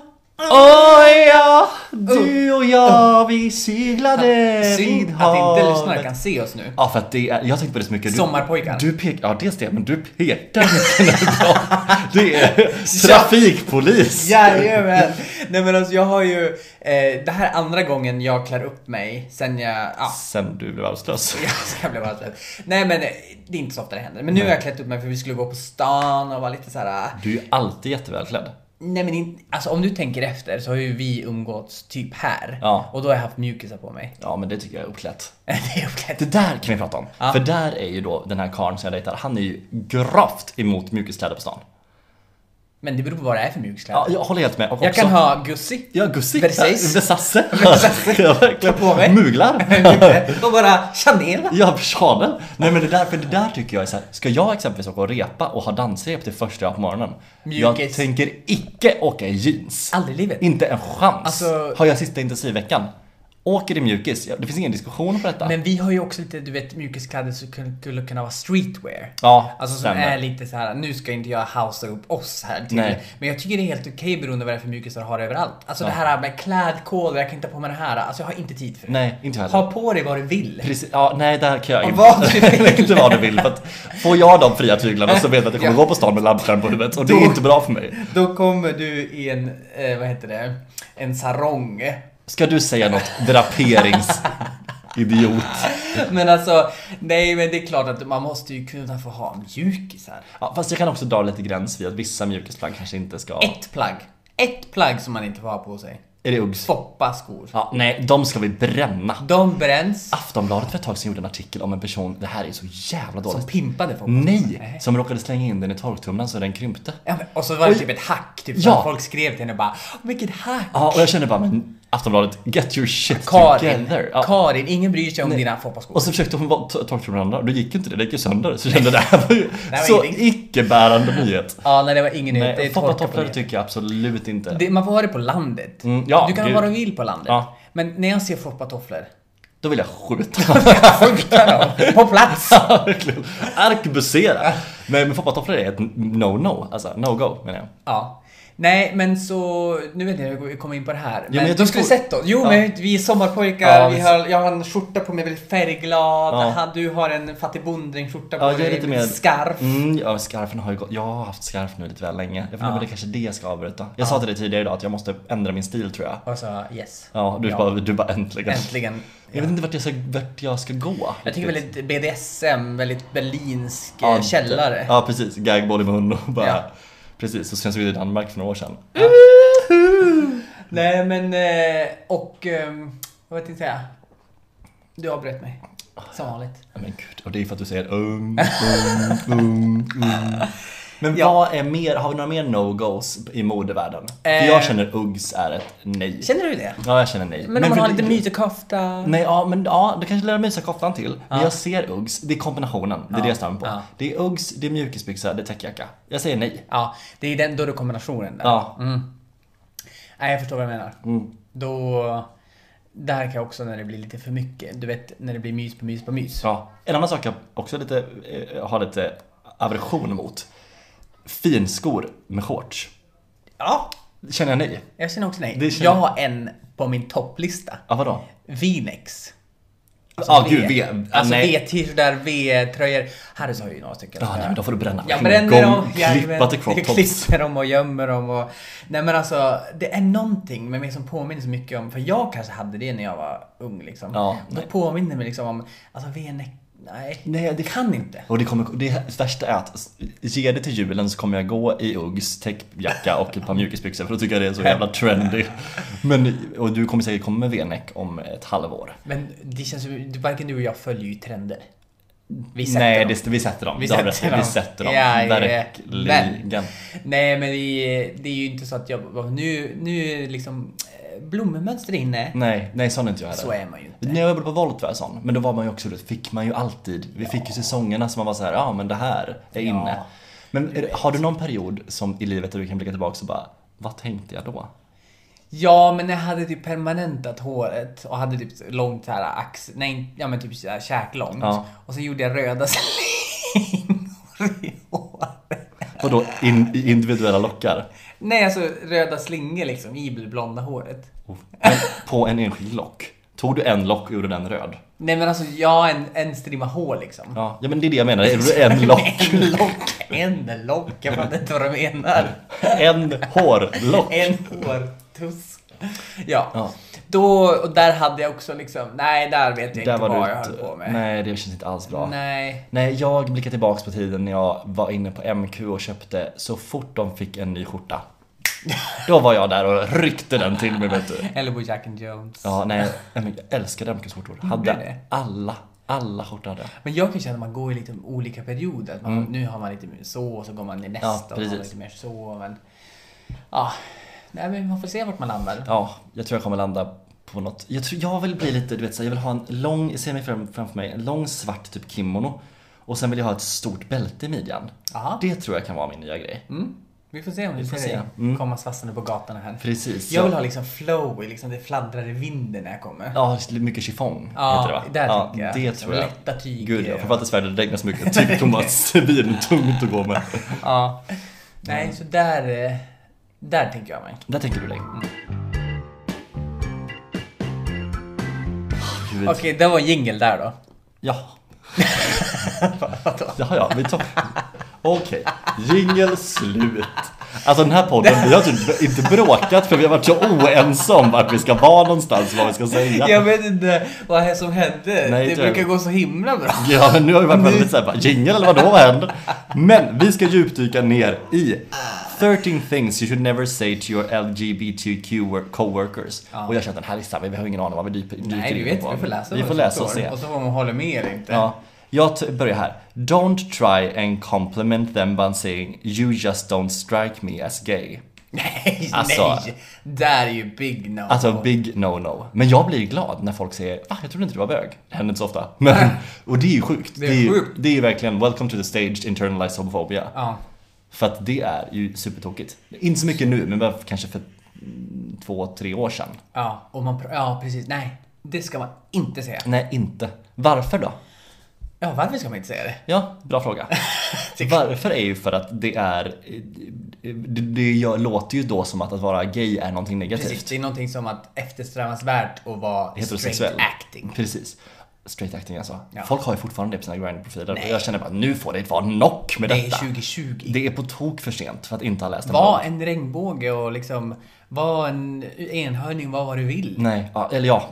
Speaker 2: Oj ja, Mm. du och jag vi seglade vid
Speaker 1: Synd att inte lyssnarna
Speaker 2: havet.
Speaker 1: kan se oss nu.
Speaker 2: Ja för att det är, jag tänkte på det så mycket. Du,
Speaker 1: Sommarpojkar.
Speaker 2: Du pek, ja dels det, men du pekar mycket när du pratar. Det är trafikpolis.
Speaker 1: Jajamän! Nej men alltså jag har ju, eh, det här är andra gången jag klär upp mig sen jag, ja,
Speaker 2: Sen du blev arbetslös.
Speaker 1: jag ska bli varslad. Nej men eh, det är inte så ofta det händer. Men nu har jag klätt upp mig för vi skulle gå på stan och vara lite så här.
Speaker 2: Du är ju alltid jättevälklädd.
Speaker 1: nej men inte, alltså om du tänker efter så har ju vi umgåtts typ här.
Speaker 2: Ja.
Speaker 1: Och då har jag haft mjukisar på mig.
Speaker 2: Ja men det tycker jag är uppklätt.
Speaker 1: det är uppklätt.
Speaker 2: Det där kan vi prata om. För där är ju då den här karln som jag dejtar, han är ju gravt emot mjukiskläder på stan.
Speaker 1: Men det beror på vad det är för mjukiskläder.
Speaker 2: Ja, jag håller helt med. Och
Speaker 1: jag
Speaker 2: också-
Speaker 1: kan ha Gussi.
Speaker 2: Ja, Gussi.
Speaker 1: Versace.
Speaker 2: Versace. Ja, verkligen.
Speaker 1: Klä på mig.
Speaker 2: Muglar.
Speaker 1: och bara Chanel.
Speaker 2: Ja, Chanel. Nej men det där, för det där tycker jag är så här. ska jag exempelvis åka och repa och ha dansrep till första jag på morgonen? Jag
Speaker 1: Mjukis.
Speaker 2: tänker icke åka i jeans.
Speaker 1: Aldrig i livet.
Speaker 2: Inte en chans.
Speaker 1: Alltså-
Speaker 2: Har jag sista intensivveckan? Åker i mjukis? Ja, Det finns ingen diskussion på detta.
Speaker 1: Men vi har ju också lite, du vet, mjukiskläder som kun- skulle kunna vara streetwear.
Speaker 2: Ja,
Speaker 1: Alltså som
Speaker 2: stämmer.
Speaker 1: är lite så här. nu ska inte jag housea upp oss här till.
Speaker 2: Nej.
Speaker 1: Men jag tycker det är helt okej beroende på vad det är för mjukisar du har överallt. Alltså det här med klädkoder, jag kan inte ha på mig det här. Alltså jag har inte tid för det.
Speaker 2: Nej, inte jag heller.
Speaker 1: Ha på dig vad du vill.
Speaker 2: Precis, ja, nej där kan jag
Speaker 1: Och
Speaker 2: inte.
Speaker 1: vad du vill.
Speaker 2: inte vad du vill. För att får jag de fria tyglarna så vet jag att jag kommer
Speaker 1: Ja.
Speaker 2: gå på stan med lampskärm på huvudet och det
Speaker 1: Då-
Speaker 2: är inte bra för mig.
Speaker 1: Då kommer du i en, eh, vad heter det, en sarong.
Speaker 2: Ska du säga något draperings... Idiot.
Speaker 1: Men alltså, nej men det är klart att man måste ju kunna få ha mjukisar.
Speaker 2: Ja, fast jag kan också dra lite gräns vid att vissa mjukisplagg kanske inte ska...
Speaker 1: Ett plagg. Ett plagg som man inte får ha på sig.
Speaker 2: Är det Uggs?
Speaker 1: Foppa skor.
Speaker 2: Ja, nej, de ska vi bränna.
Speaker 1: De bränns.
Speaker 2: Aftonbladet för ett tag sedan gjorde en artikel om en person, det här är så jävla
Speaker 1: Som
Speaker 2: dåligt.
Speaker 1: pimpade folk.
Speaker 2: Nej! Som råkade slänga in den i torktumlaren så den krympte.
Speaker 1: Ja, men, och så var det typ ett hack, typ som
Speaker 2: Ja.
Speaker 1: folk skrev till henne och bara “Vilket hack!”
Speaker 2: Ja, och jag kände bara men Aftonbladet, get your shit
Speaker 1: Karin,
Speaker 2: together. Ja.
Speaker 1: Karin, ingen bryr sig om dina foppaskor.
Speaker 2: Och så försökte hon vara to- torktumlaren och då gick inte det, det gick ju sönder. Så jag kände det här var ju
Speaker 1: var
Speaker 2: så
Speaker 1: ingenting.
Speaker 2: icke-bärande nyhet.
Speaker 1: Ja, nej det var ingen nyhet. Det
Speaker 2: Nej,
Speaker 1: är
Speaker 2: Foppa
Speaker 1: torka på
Speaker 2: topplar
Speaker 1: det.
Speaker 2: tycker jag absolut inte.
Speaker 1: det, Man får ha det på landet.
Speaker 2: Mm, ja,
Speaker 1: du kan ha
Speaker 2: gud.
Speaker 1: vad du vill på landet.
Speaker 2: Ja.
Speaker 1: Men när jag ser foppatofflor,
Speaker 2: Då vill jag skjuta.
Speaker 1: skjuta dem på plats!
Speaker 2: Ja, verkligen. Arkebusera. Nej men foppatofflor är ett no-no, alltså no-go menar jag.
Speaker 1: Ja. Nej, men så... Nu vet jag hur jag kommer in på det här. Men,
Speaker 2: men jag
Speaker 1: du
Speaker 2: tror-
Speaker 1: skulle sett oss. Jo,
Speaker 2: Ja.
Speaker 1: men vi är sommarpojkar.
Speaker 2: Ja,
Speaker 1: vi
Speaker 2: visst.
Speaker 1: har, jag har en skjorta på mig, väldigt färgglad.
Speaker 2: Ja.
Speaker 1: Han- Du har en fattig bonddrängskjorta på
Speaker 2: Ja, jag
Speaker 1: dig,
Speaker 2: är lite mer...
Speaker 1: skarf.
Speaker 2: Mm, ja, skarfen har ju gått... Jag har haft skarf nu lite väl länge. Jag funderar på det kanske det jag ska avbryta. Jag sa till dig tidigare idag att jag måste ändra min stil tror jag.
Speaker 1: Och så, yes.
Speaker 2: Ja, du, Bara, du bara äntligen.
Speaker 1: Äntligen.
Speaker 2: Jag vet inte vart jag ska, vart jag ska gå.
Speaker 1: Jag tycker
Speaker 2: riktigt.
Speaker 1: väldigt BDSM, väldigt berlinsk eh,
Speaker 2: Ja, det-
Speaker 1: källare.
Speaker 2: Ja, precis. Gagball i mun och bara...
Speaker 1: Ja.
Speaker 2: Precis, så känns vi i Danmark för några år sedan.
Speaker 1: Nej men, eh, och ehm, vad tänkte jag säga? Du avbröt mig. Som vanligt.
Speaker 2: Ja, Men gud, och det är för att du säger um, um, um, um. Men
Speaker 1: Ja.
Speaker 2: vad är mer, har vi några mer no-goes i modevärlden?
Speaker 1: Eh.
Speaker 2: För jag känner Uggs är ett nej.
Speaker 1: Känner du det?
Speaker 2: Ja, jag känner nej.
Speaker 1: Men om man
Speaker 2: för
Speaker 1: har
Speaker 2: det-
Speaker 1: lite mytekofta.
Speaker 2: Nej, ja, men ja, du kanske lär mysa koftan till. Men jag ser Uggs, det är kombinationen, det är det jag stämmer på.
Speaker 1: Ja.
Speaker 2: Det är Uggs, det är mjukisbyxa, det är täckjacka. Jag säger nej.
Speaker 1: Ja, det är den, då är det kombinationen där.
Speaker 2: Ja, Mm.
Speaker 1: Nej, jag förstår vad du menar. Då... Där kan jag också när det blir lite för mycket. Du vet, när det blir mys på mys på mys.
Speaker 2: Ja. En annan sak jag också lite, eh, har lite aversion mot. Finskor med shorts.
Speaker 1: Ja,
Speaker 2: Det Känner jag nej.
Speaker 1: jag känner också nej.
Speaker 2: Det känner-
Speaker 1: Jag har en på min topplista.
Speaker 2: Ja, vadå?
Speaker 1: Vinex.
Speaker 2: Ja, gud, V. Ah,
Speaker 1: Alltså
Speaker 2: nej.
Speaker 1: V-t-shirtar, V-tröjor. Harrys har ju några stycken.
Speaker 2: Ja, nej men då får du bränna.
Speaker 1: Jag bränner dem,
Speaker 2: klippa
Speaker 1: jajamän.
Speaker 2: till crop
Speaker 1: Jag
Speaker 2: tops.
Speaker 1: klipper dem och gömmer dem och... Nej men alltså, det är någonting med mig som påminner så mycket om, för jag kanske hade det när jag var ung liksom.
Speaker 2: Ja,
Speaker 1: det
Speaker 2: nej.
Speaker 1: påminner mig liksom om, alltså VNX, nej.
Speaker 2: Nej, det-
Speaker 1: kan inte.
Speaker 2: Och det, kommer, det värsta är att ge det till julen så kommer jag gå i Uggs täckjacka och ett par mjukisbyxor för då tycker jag det är så jävla trendy. Men, och du kommer säkert komma med V-neck om ett halvår.
Speaker 1: Men det känns ju, varken du och jag följer ju trender. Vi sätter
Speaker 2: Nej,
Speaker 1: dem.
Speaker 2: det, vi sätter dem.
Speaker 1: Vi
Speaker 2: Du har
Speaker 1: sätter
Speaker 2: rätt. vi
Speaker 1: dem.
Speaker 2: sätter dem.
Speaker 1: Ja, ja,
Speaker 2: Verkligen.
Speaker 1: men- Nej men det är, det är ju inte så att jag, nu, nu är liksom eh, blommemönster inne.
Speaker 2: Nej, nej sån är inte jag heller.
Speaker 1: Så är man ju inte.
Speaker 2: När jag jobbade på Volt var jag sån, men då var man ju också, då fick man ju alltid, vi fick ju säsongerna som man var så här, ja men det här är inne. Men är, har du någon period som i livet där du kan blicka tillbaka och bara, vad tänkte jag då?
Speaker 1: Ja, men jag hade typ permanentat håret och hade typ långt så här ax... Nej, ja men typ så här käklångt.
Speaker 2: Ja.
Speaker 1: Och så gjorde jag röda slingor i håret.
Speaker 2: Vadå, in, i individuella lockar?
Speaker 1: Nej, alltså röda slingor liksom i det blonda håret.
Speaker 2: Men på en enskild lock? Tog du en lock och gjorde den röd?
Speaker 1: Nej men alltså, jag en, en strimma hår liksom.
Speaker 2: Ja, ja men det är det jag menar, gjorde du en lock?
Speaker 1: En lock, en lock, jag fattar inte vad du menar.
Speaker 2: En hårlock?
Speaker 1: En hårtuss. Ja.
Speaker 2: Ja.
Speaker 1: Då, och där hade jag också liksom, nej där vet jag
Speaker 2: Där
Speaker 1: inte
Speaker 2: var
Speaker 1: vad
Speaker 2: du
Speaker 1: jag
Speaker 2: ett-
Speaker 1: höll på med.
Speaker 2: Nej, det känns inte alls bra.
Speaker 1: nej.
Speaker 2: Nej, jag blickar tillbaks på tiden när jag var inne på MQ och köpte så fort de fick en ny skjorta. Då var jag där och ryckte den till mig vet du.
Speaker 1: Eller på Jack and Jones.
Speaker 2: Ja, nej, nej, men jag älskade MQs skjortor.
Speaker 1: det?
Speaker 2: Hade alla, alla skårtor hade jag.
Speaker 1: Men jag kan känna att man går i lite olika perioder. Att man, Nu har man lite mer så, och så går man i nästa
Speaker 2: Mm.
Speaker 1: och så har
Speaker 2: Ja,
Speaker 1: man
Speaker 2: precis.
Speaker 1: lite mer så. Men, ja, nej, men man får se vart man landar.
Speaker 2: Ja, jag tror jag kommer landa på något. Jag, tror, jag vill bli lite, du vet så här, jag vill ha en lång, jag ser mig fram, framför mig, en lång svart typ kimono. Och sen vill jag ha ett stort bälte i midjan.
Speaker 1: Aha.
Speaker 2: Det tror jag kan vara min nya grej.
Speaker 1: Mm. Vi får se om vi
Speaker 2: får
Speaker 1: ser
Speaker 2: se. Mm.
Speaker 1: dig komma svassande på gatorna här.
Speaker 2: Precis.
Speaker 1: Jag vill
Speaker 2: så-
Speaker 1: ha liksom flow, i liksom det fladdrar i vinden när jag kommer.
Speaker 2: Ja, mycket chiffong
Speaker 1: Ja,
Speaker 2: heter det va?
Speaker 1: där
Speaker 2: ja,
Speaker 1: tänker jag.
Speaker 2: Det tror jag.
Speaker 1: Lätta tyger.
Speaker 2: Gud ja, framförallt i Sverige där det regnar så mycket. Typ Tyg kommer att svintungt att gå med.
Speaker 1: Ja. Nej, så där, eh, där tänker jag mig.
Speaker 2: Där tänker du dig. Mm. Gud.
Speaker 1: Okej, det var jingel där då.
Speaker 2: Ja. Jaha ja, vi tar... Okej, jingel slut. Alltså den här podden, vi har typ inte bråkat för vi har varit så oense om vart vi ska vara någonstans, vad vi ska säga.
Speaker 1: Jag vet inte vad här som hände.
Speaker 2: Nej,
Speaker 1: det
Speaker 2: tror jag.
Speaker 1: brukar gå så himla bra.
Speaker 2: Ja, men nu har vi varit väldigt såhär, jingel eller vadå, vad händer? Men vi ska djupdyka ner i 13 things you should never say to your LGBTQ wor- coworkers. Och jag känner att den här listan, vi har ingen aning om vad vi dyker dyker
Speaker 1: Nej, du vet, vi får läsa
Speaker 2: typ Vi
Speaker 1: vad
Speaker 2: får
Speaker 1: som
Speaker 2: läsa och
Speaker 1: står.
Speaker 2: se.
Speaker 1: Och så får man hålla med eller inte.
Speaker 2: Ja, jag t- börjar här. Don't try and compliment them by saying you just don't strike me as gay.
Speaker 1: Nej,
Speaker 2: Alltså-
Speaker 1: nej! Där är ju big no.
Speaker 2: Alltså big no no. Men jag blir glad när folk säger ah, jag trodde inte du var bög. Det händer inte så ofta. Men, och det är ju sjukt.
Speaker 1: Det är
Speaker 2: ju-
Speaker 1: sjukt.
Speaker 2: Det är ju verkligen welcome to the staged internalized homophobia.
Speaker 1: ja.
Speaker 2: För att det är ju supertokigt. Inte så mycket nu, men bara kanske för mm, två, tre år sedan.
Speaker 1: ja, och man pr- ja, precis. Nej, det ska man inte säga.
Speaker 2: Nej, inte. Varför då?
Speaker 1: Ja, varför ska man inte säga det?
Speaker 2: Ja, bra fråga. Varför är ju för att det är... Det, det gör, låter ju då som att att vara gay är någonting negativt.
Speaker 1: Precis, det är någonting som att eftersträvansvärt att vara
Speaker 2: Heterosexuell.
Speaker 1: straight acting.
Speaker 2: Precis. Straight acting alltså.
Speaker 1: Ja.
Speaker 2: Folk har ju fortfarande det på sina grindprofiler.
Speaker 1: Nej.
Speaker 2: Och jag känner bara, nu får det inte vara nock med
Speaker 1: Det är
Speaker 2: detta.
Speaker 1: 2020.
Speaker 2: Det är på tok för sent för att inte ha läst en
Speaker 1: Var
Speaker 2: bok.
Speaker 1: en regnbåge och liksom, var en enhörning, var vad du vill.
Speaker 2: Nej, ja, eller ja.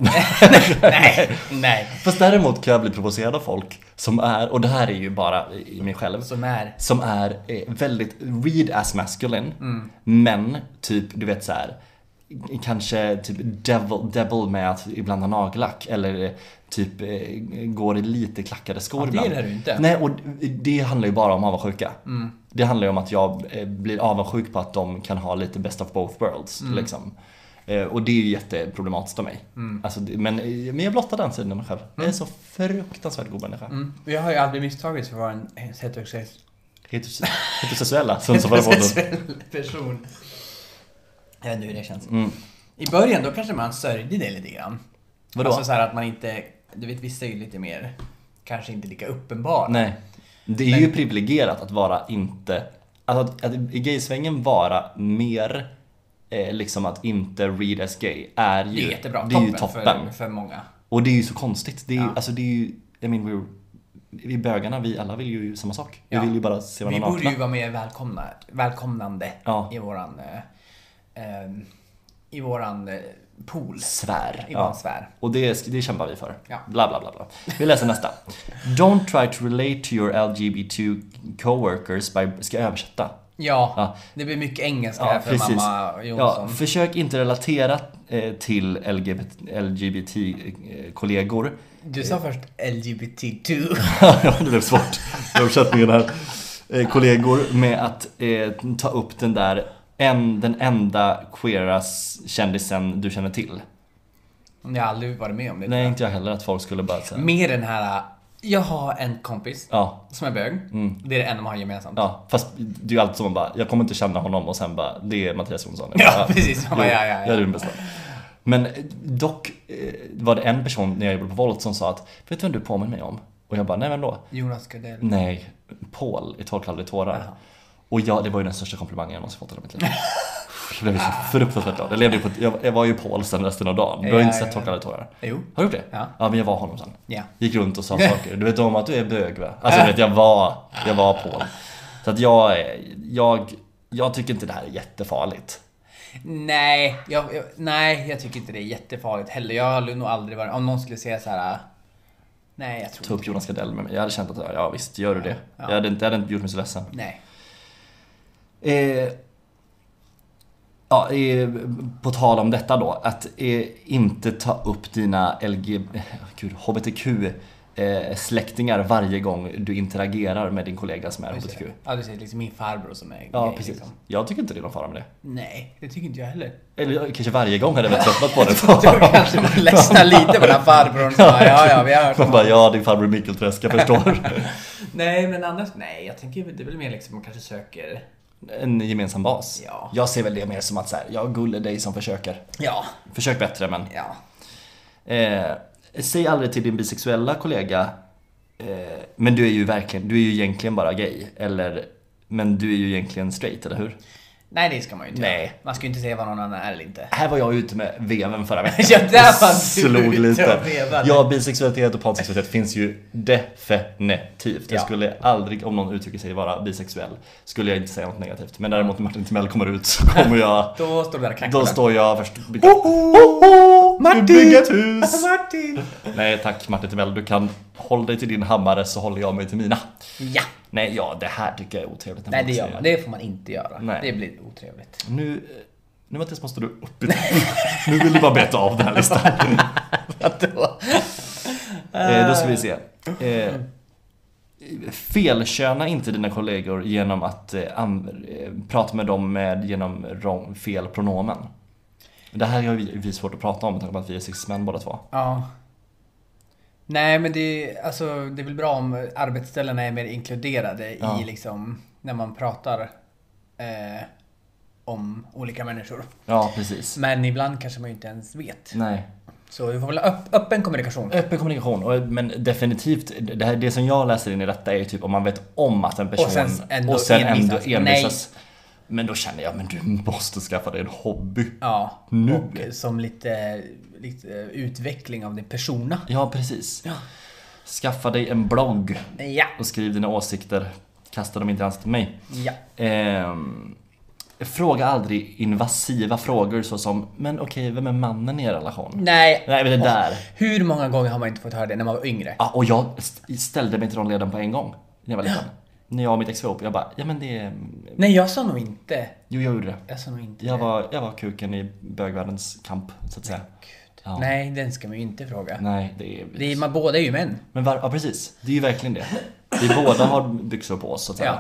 Speaker 1: nej, nej.
Speaker 2: Fast däremot kan jag bli provocerad av folk som är, och det här är ju bara i mig själv.
Speaker 1: Som är.
Speaker 2: som är eh, väldigt read as masculine.
Speaker 1: Mm.
Speaker 2: Men typ, du vet så här. Kanske typ devil, devil med att ibland ha nagellack eller eh, typ eh, går i lite klackade skor
Speaker 1: det
Speaker 2: ibland.
Speaker 1: gillar du inte. Mm.
Speaker 2: Nej, och det handlar ju bara om avundsjuka. Det handlar ju om att jag eh, blir avundsjuk på att de kan ha lite best of both worlds.
Speaker 1: Mm.
Speaker 2: Liksom. Eh, och det är ju jätteproblematiskt för mig.
Speaker 1: Mm.
Speaker 2: Alltså, det- men, eh, men jag blottar den sidan av mig själv. Jag är så fruktansvärt god människa.
Speaker 1: Mm. Jag har ju aldrig misstagits för att vara en heterosexuell
Speaker 2: Heterose- Heterosexuella, som så förra podden.
Speaker 1: person. Jag vet inte hur det känns.
Speaker 2: Mm.
Speaker 1: I början då kanske man sörjde det lite grann.
Speaker 2: Vadå?
Speaker 1: Alltså så här att man inte, du vet vissa är ju lite mer, kanske inte lika uppenbara.
Speaker 2: Nej. Det är ju privilegierat att vara inte, alltså att, att i gaysvängen vara mer eh, liksom att inte read as gay är ju,
Speaker 1: Det är jättebra,
Speaker 2: det är ju
Speaker 1: toppen,
Speaker 2: toppen.
Speaker 1: För, för många.
Speaker 2: Och det är ju så konstigt. Det är,
Speaker 1: Ja.
Speaker 2: alltså, det är ju, jag menar, vi, vi bögarna, vi alla vill ju samma sak.
Speaker 1: Ja.
Speaker 2: Vi vill ju bara se
Speaker 1: Vi
Speaker 2: varandra
Speaker 1: borde
Speaker 2: nakna.
Speaker 1: ju vara mer välkomna, välkomnande
Speaker 2: Ja.
Speaker 1: i våran, eh, eh, i våran eh, pool,
Speaker 2: Svär.
Speaker 1: i våran sfär.
Speaker 2: Och det, det kämpar vi för.
Speaker 1: Ja.
Speaker 2: Bla, bla, bla, bla. Vi läser nästa. Don't try to relate to your LGBT coworkers by... Ska jag översätta?
Speaker 1: Ja,
Speaker 2: Ja.
Speaker 1: det blir mycket engelska
Speaker 2: Ja,
Speaker 1: här för
Speaker 2: precis.
Speaker 1: mamma
Speaker 2: Ja,
Speaker 1: Jonsson.
Speaker 2: försök inte relatera eh, till eh, LGBT-kollegor.
Speaker 1: Du sa först LGBT2.
Speaker 2: ja, det blev svårt. Översättningen här. Eh, kollegor med att eh, ta upp den där en, den enda queera kändisen du känner till.
Speaker 1: Jag har aldrig varit med om det.
Speaker 2: Nej, inte jag heller att folk skulle bara säga.
Speaker 1: Med den här, jag har en kompis
Speaker 2: Ja, Mm.
Speaker 1: som är bög. Det är det enda de har gemensamt.
Speaker 2: ja, fast det är ju alltid så man bara, jag kommer inte känna honom och sen bara, det är Mattias Jonsson.
Speaker 1: Ja, precis. Man bara,
Speaker 2: Jo,
Speaker 1: ja, ja, ja.
Speaker 2: Jag är den bästa. Men eh, dock eh, var det en person när jag jobbade på Volt som sa att, vet du vem du påminner mig om? Och jag bara, nej vem då?
Speaker 1: Jonas Gardell.
Speaker 2: Nej, Paul i Torkar aldrig tårar.
Speaker 1: Jaha.
Speaker 2: Och jag, det var ju den största komplimangen jag någonsin fått i hela mitt liv. Jag blev så fruktansvärt glad. Jag, levde ju på, jag, jag var ju Paul sen resten av dagen. Du har
Speaker 1: Ja,
Speaker 2: inte sett
Speaker 1: ja.
Speaker 2: Torkar aldrig tårar?
Speaker 1: Jo.
Speaker 2: Har du gjort det?
Speaker 1: Ja.
Speaker 2: men jag var honom sen.
Speaker 1: Ja.
Speaker 2: Gick runt och sa saker. Du vet om att du är bög va? Alltså du vet, jag var, jag var Paul. Så att jag, är- jag, jag tycker inte det här är jättefarligt.
Speaker 1: Nej jag, jag, nej, jag tycker inte det är jättefarligt heller. Jag har nog aldrig varit... Om någon skulle säga så här. Nej, jag tror
Speaker 2: Ta
Speaker 1: inte
Speaker 2: upp Jonas Gardell med mig. Jag hade känt att, ja visst, gör du det. Jag, hade inte, jag hade inte gjort mig så ledsen.
Speaker 1: Nej.
Speaker 2: Eh, ja, eh, på tal om detta då, att eh, inte ta upp dina LG, eh, gud, HBTQ eh, släktingar varje gång du interagerar med din kollega som är
Speaker 1: Just
Speaker 2: HBTQ.
Speaker 1: det. Ja, du säger liksom min farbror som är
Speaker 2: Ja,
Speaker 1: gay,
Speaker 2: precis.
Speaker 1: liksom.
Speaker 2: Jag tycker inte det är någon fara med det.
Speaker 1: Nej, det tycker inte jag heller.
Speaker 2: Eller jag- kanske varje gång hade jag väl tröttnat på
Speaker 1: Då
Speaker 2: det.
Speaker 1: kanske man ledsnar lite på den här farbrorn som bara, ja, ja, vi har hört
Speaker 2: Man
Speaker 1: om
Speaker 2: bara, ja din farbror Mikkelträsk, jag förstår.
Speaker 1: Nej, men annars, nej, jag tänker det är väl mer liksom man kanske söker,
Speaker 2: en gemensam bas.
Speaker 1: Ja.
Speaker 2: Jag ser väl det mer som att så här, jag gulle dig som försöker.
Speaker 1: ja,
Speaker 2: Försök bättre men
Speaker 1: ja.
Speaker 2: Eh, säg aldrig till din bisexuella kollega eh, Men du är ju verkligen, du är ju egentligen bara gay. Eller Men du är ju egentligen straight, eller hur?
Speaker 1: Nej, det ska man ju inte
Speaker 2: Nej.
Speaker 1: göra. Man ska ju inte säga vad någon annan är eller inte.
Speaker 2: Här var jag ute med veven förra veckan.
Speaker 1: Ja, där var
Speaker 2: Och
Speaker 1: du
Speaker 2: Slog
Speaker 1: ute
Speaker 2: lite.
Speaker 1: och vevade.
Speaker 2: Ja, bisexualitet och pansexualitet finns ju definitivt. Jag
Speaker 1: Ja.
Speaker 2: skulle aldrig, om någon uttrycker sig vara bisexuell, skulle jag inte säga något negativt. Men däremot när Martin Timell kommer ut så kommer jag,
Speaker 1: Då står du där och knackar.
Speaker 2: då står jag först...
Speaker 1: Martin! Alltså,
Speaker 2: Du bygger ett hus!
Speaker 1: Martin!
Speaker 2: Nej tack Martin Timell, du kan hålla dig till din hammare så håller jag mig till mina.
Speaker 1: Ja!
Speaker 2: Nej, ja det här tycker jag är otrevligt. när
Speaker 1: Nej, det
Speaker 2: folk
Speaker 1: gör
Speaker 2: säger
Speaker 1: man. Det får man inte göra.
Speaker 2: Nej.
Speaker 1: Det blir otrevligt.
Speaker 2: Nu, eh, nu Mattias måste du upp i Nu vill du bara beta av den här listan. eh, då ska vi se. Eh, felköna inte dina kollegor genom att eh, an- eh, prata med dem med, genom wrong, fel pronomen. Det här har vi, vi är svårt att prata om med tanke på att vi är cis-män båda två.
Speaker 1: Ja. Nej, men det, är- alltså, det är väl bra om arbetsställena är mer inkluderade
Speaker 2: Ja.
Speaker 1: i liksom, när man pratar eh, om olika människor.
Speaker 2: Ja, precis.
Speaker 1: Men ibland kanske man ju inte ens vet.
Speaker 2: Nej.
Speaker 1: Så vi får väl ha öpp, öppen kommunikation.
Speaker 2: Öppen kommunikation, och, men definitivt, det, här, det som jag läser in i detta är ju typ om man vet om att en person
Speaker 1: Och sen ändå
Speaker 2: och sen ändå
Speaker 1: envisas.
Speaker 2: envisas. Men då känner jag, men du måste skaffa dig en hobby.
Speaker 1: Ja,
Speaker 2: Nu.
Speaker 1: och som lite, lite utveckling av din persona.
Speaker 2: Ja, precis. Skaffa dig en blogg
Speaker 1: Ja,
Speaker 2: och skriv dina åsikter. Kasta dem inte ens till mig.
Speaker 1: ja.
Speaker 2: Ehm, fråga aldrig invasiva frågor såsom, men okej, vem är mannen i er relation?
Speaker 1: Nej.
Speaker 2: Nej, men det där.
Speaker 1: Hur många gånger har man inte fått höra det när man var yngre?
Speaker 2: Ja, och jag st- ställde mig till de leden på en gång när jag var liten. När jag och mitt ex var ihop, jag bara, ja men det är...
Speaker 1: Nej, jag sa nog inte.
Speaker 2: Jo, jag gjorde det.
Speaker 1: Jag sa nog inte
Speaker 2: Jag
Speaker 1: det.
Speaker 2: var, jag var kuken i bögvärldens kamp, så att säga. Ja.
Speaker 1: Nej, den ska man ju inte fråga.
Speaker 2: Nej, det är...
Speaker 1: Det är, man, båda är ju män.
Speaker 2: Men var, ja, precis. Det är ju verkligen det. Vi båda har byxor på oss, så att säga.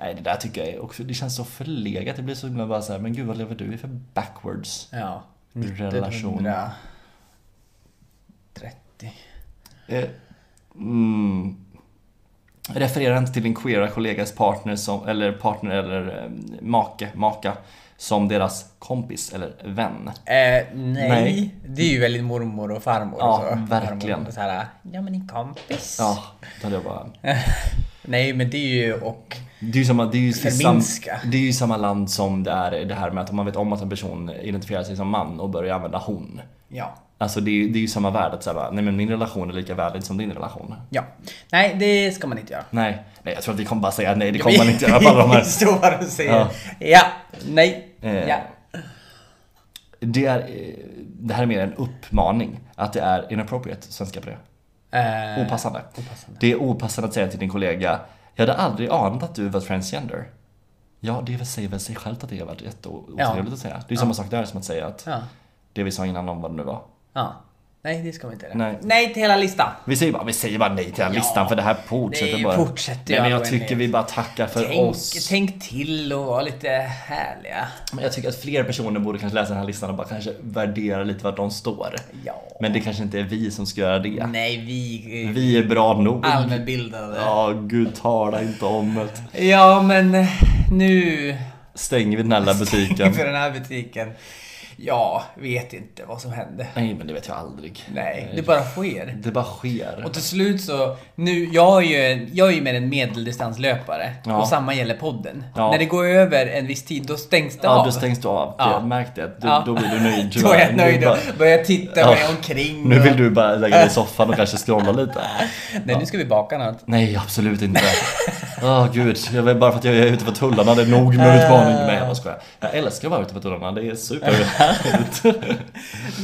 Speaker 2: Nej, det där tycker jag är också, det känns så förlegat. Det blir så himla bara så här, men gud vad lever du i för backwards
Speaker 1: Ja.
Speaker 2: relation?
Speaker 1: 30.
Speaker 2: Eh, mm, refererar inte till din queera kollegas partner, som, eller partner eller eh, make, maka som deras kompis eller vän.
Speaker 1: Eh, nej.
Speaker 2: Nej.
Speaker 1: det är ju väldigt mormor och farmor.
Speaker 2: Ja,
Speaker 1: och så.
Speaker 2: verkligen.
Speaker 1: Farmor och så här, ja men en kompis.
Speaker 2: Ja, då hade jag bara...
Speaker 1: Nej men det är ju och...
Speaker 2: Det är ju samma, det är ju sam,
Speaker 1: Förminska.
Speaker 2: det är ju samma land som det är det här med att om man vet om att en person identifierar sig som man och börjar använda hon.
Speaker 1: Ja.
Speaker 2: Alltså det är, ju- det är ju samma värde att säga bara, nej men min relation är lika värdig som din relation.
Speaker 1: Ja. Nej, det ska man inte göra.
Speaker 2: Nej, nej jag tror att vi kommer bara säga nej, det kommer man inte göra på alla de
Speaker 1: Vi
Speaker 2: här.
Speaker 1: står här och säger
Speaker 2: Ja.
Speaker 1: ja, nej,
Speaker 2: Eh.
Speaker 1: ja.
Speaker 2: Det, är, eh, det här är mer en uppmaning, att det är inappropriate, svenska på det.
Speaker 1: Eh,
Speaker 2: Opassande. Det är opassande att säga till din kollega, jag hade aldrig anat att du var transgender. Ja, det säger väl sig självt att det har varit jätteotrevligt att säga. Det är ju samma sak där som att säga att
Speaker 1: ja.
Speaker 2: det vi sa innan om vad det nu var.
Speaker 1: ja. Nej, det ska man inte göra.
Speaker 2: Nej.
Speaker 1: till hela listan.
Speaker 2: Vi säger bara, vi säger bara nej till den här listan för det här fortsätter
Speaker 1: det
Speaker 2: bara.
Speaker 1: fortsätter
Speaker 2: nej, men
Speaker 1: ju
Speaker 2: jag
Speaker 1: all
Speaker 2: tycker
Speaker 1: oändlighet.
Speaker 2: vi bara tackar för
Speaker 1: Tänk,
Speaker 2: oss.
Speaker 1: tänk till och var lite härliga.
Speaker 2: Men jag tycker att fler personer borde kanske läsa den här listan och bara kanske värdera lite vart de står.
Speaker 1: Ja.
Speaker 2: Men det kanske inte är vi som ska göra det.
Speaker 1: Nej, vi... eh,
Speaker 2: Vi är bra nog.
Speaker 1: Allmänbildade. Ja.
Speaker 2: Ja, gud tala inte om det.
Speaker 1: men eh, nu...
Speaker 2: Stänger vi den här lilla butiken?
Speaker 1: För den här butiken. Ja, vet inte vad som hände.
Speaker 2: Nej, men det vet jag aldrig.
Speaker 1: Nej, det bara sker.
Speaker 2: Det bara sker.
Speaker 1: Och till slut så, nu, jag är ju, en- jag är ju mer en medeldistanslöpare
Speaker 2: Ja.
Speaker 1: och samma gäller podden.
Speaker 2: Ja.
Speaker 1: När det går över en viss tid, då stängs det
Speaker 2: Ja,
Speaker 1: av.
Speaker 2: då stängs du av.
Speaker 1: Ja.
Speaker 2: Jag märkte det. Du,
Speaker 1: Ja.
Speaker 2: Då blir du nöjd
Speaker 1: Då är jag
Speaker 2: Du
Speaker 1: nöjd
Speaker 2: bara-
Speaker 1: och börjar titta
Speaker 2: Ja.
Speaker 1: mig omkring.
Speaker 2: Nu
Speaker 1: och-
Speaker 2: vill du bara lägga dig i soffan och kanske scrolla lite.
Speaker 1: Nej, nu ska vi baka något.
Speaker 2: Nej, absolut inte. Åh gud, jag vet bara för att jag är ute på tullarna, det är nog med utmaning. Nej, jag bara skojar. Jag älskar att vara ute på tullarna, det är superhärligt.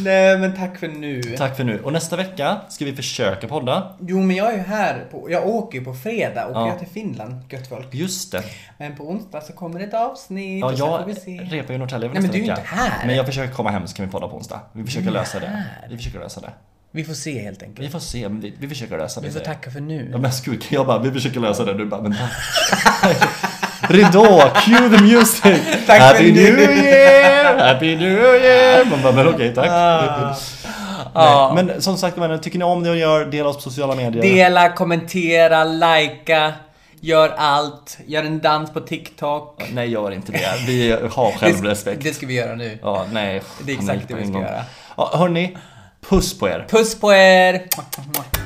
Speaker 1: Nej, men tack för nu.
Speaker 2: Tack för nu. Och nästa vecka ska vi försöka podda.
Speaker 1: Jo, men jag är ju här. På, jag åker ju på fredag och
Speaker 2: Ja.
Speaker 1: jag till Finland, gött folk.
Speaker 2: Just det.
Speaker 1: Men på onsdag så kommer ett avsnitt
Speaker 2: Ja,
Speaker 1: och sen får
Speaker 2: jag
Speaker 1: vi se.
Speaker 2: repar ju i Norrtälje
Speaker 1: Nej, men
Speaker 2: nästa
Speaker 1: du är ju
Speaker 2: vecka.
Speaker 1: inte här.
Speaker 2: Men jag försöker komma hem så kan vi podda på onsdag. Vi försöker lösa det.
Speaker 1: här.
Speaker 2: Vi försöker lösa det.
Speaker 1: Vi får se helt enkelt.
Speaker 2: Vi får se, men vi, vi försöker lösa det.
Speaker 1: Vi får tacka för
Speaker 2: Ja,
Speaker 1: nu.
Speaker 2: men skurk, jag bara, vi försöker lösa det. Du bara, men tack. Ridå, cue the music!
Speaker 1: Tack för
Speaker 2: Happy
Speaker 1: nu.
Speaker 2: new year! Happy new year! Man bara, men okej, tack.
Speaker 1: Ah.
Speaker 2: Nej,
Speaker 1: Ja.
Speaker 2: men som sagt vänner, tycker ni om det jag gör, dela oss på sociala medier.
Speaker 1: Dela, kommentera, likea, gör allt. Gör en dans på TikTok.
Speaker 2: Nej, gör inte det. Vi har
Speaker 1: Det,
Speaker 2: självrespekt.
Speaker 1: det ska vi göra nu.
Speaker 2: Ja, nej.
Speaker 1: Det är
Speaker 2: panik
Speaker 1: exakt det
Speaker 2: på
Speaker 1: vi
Speaker 2: en
Speaker 1: ska
Speaker 2: gång.
Speaker 1: göra.
Speaker 2: Ja, hörni, puss på er.
Speaker 1: Puss på er!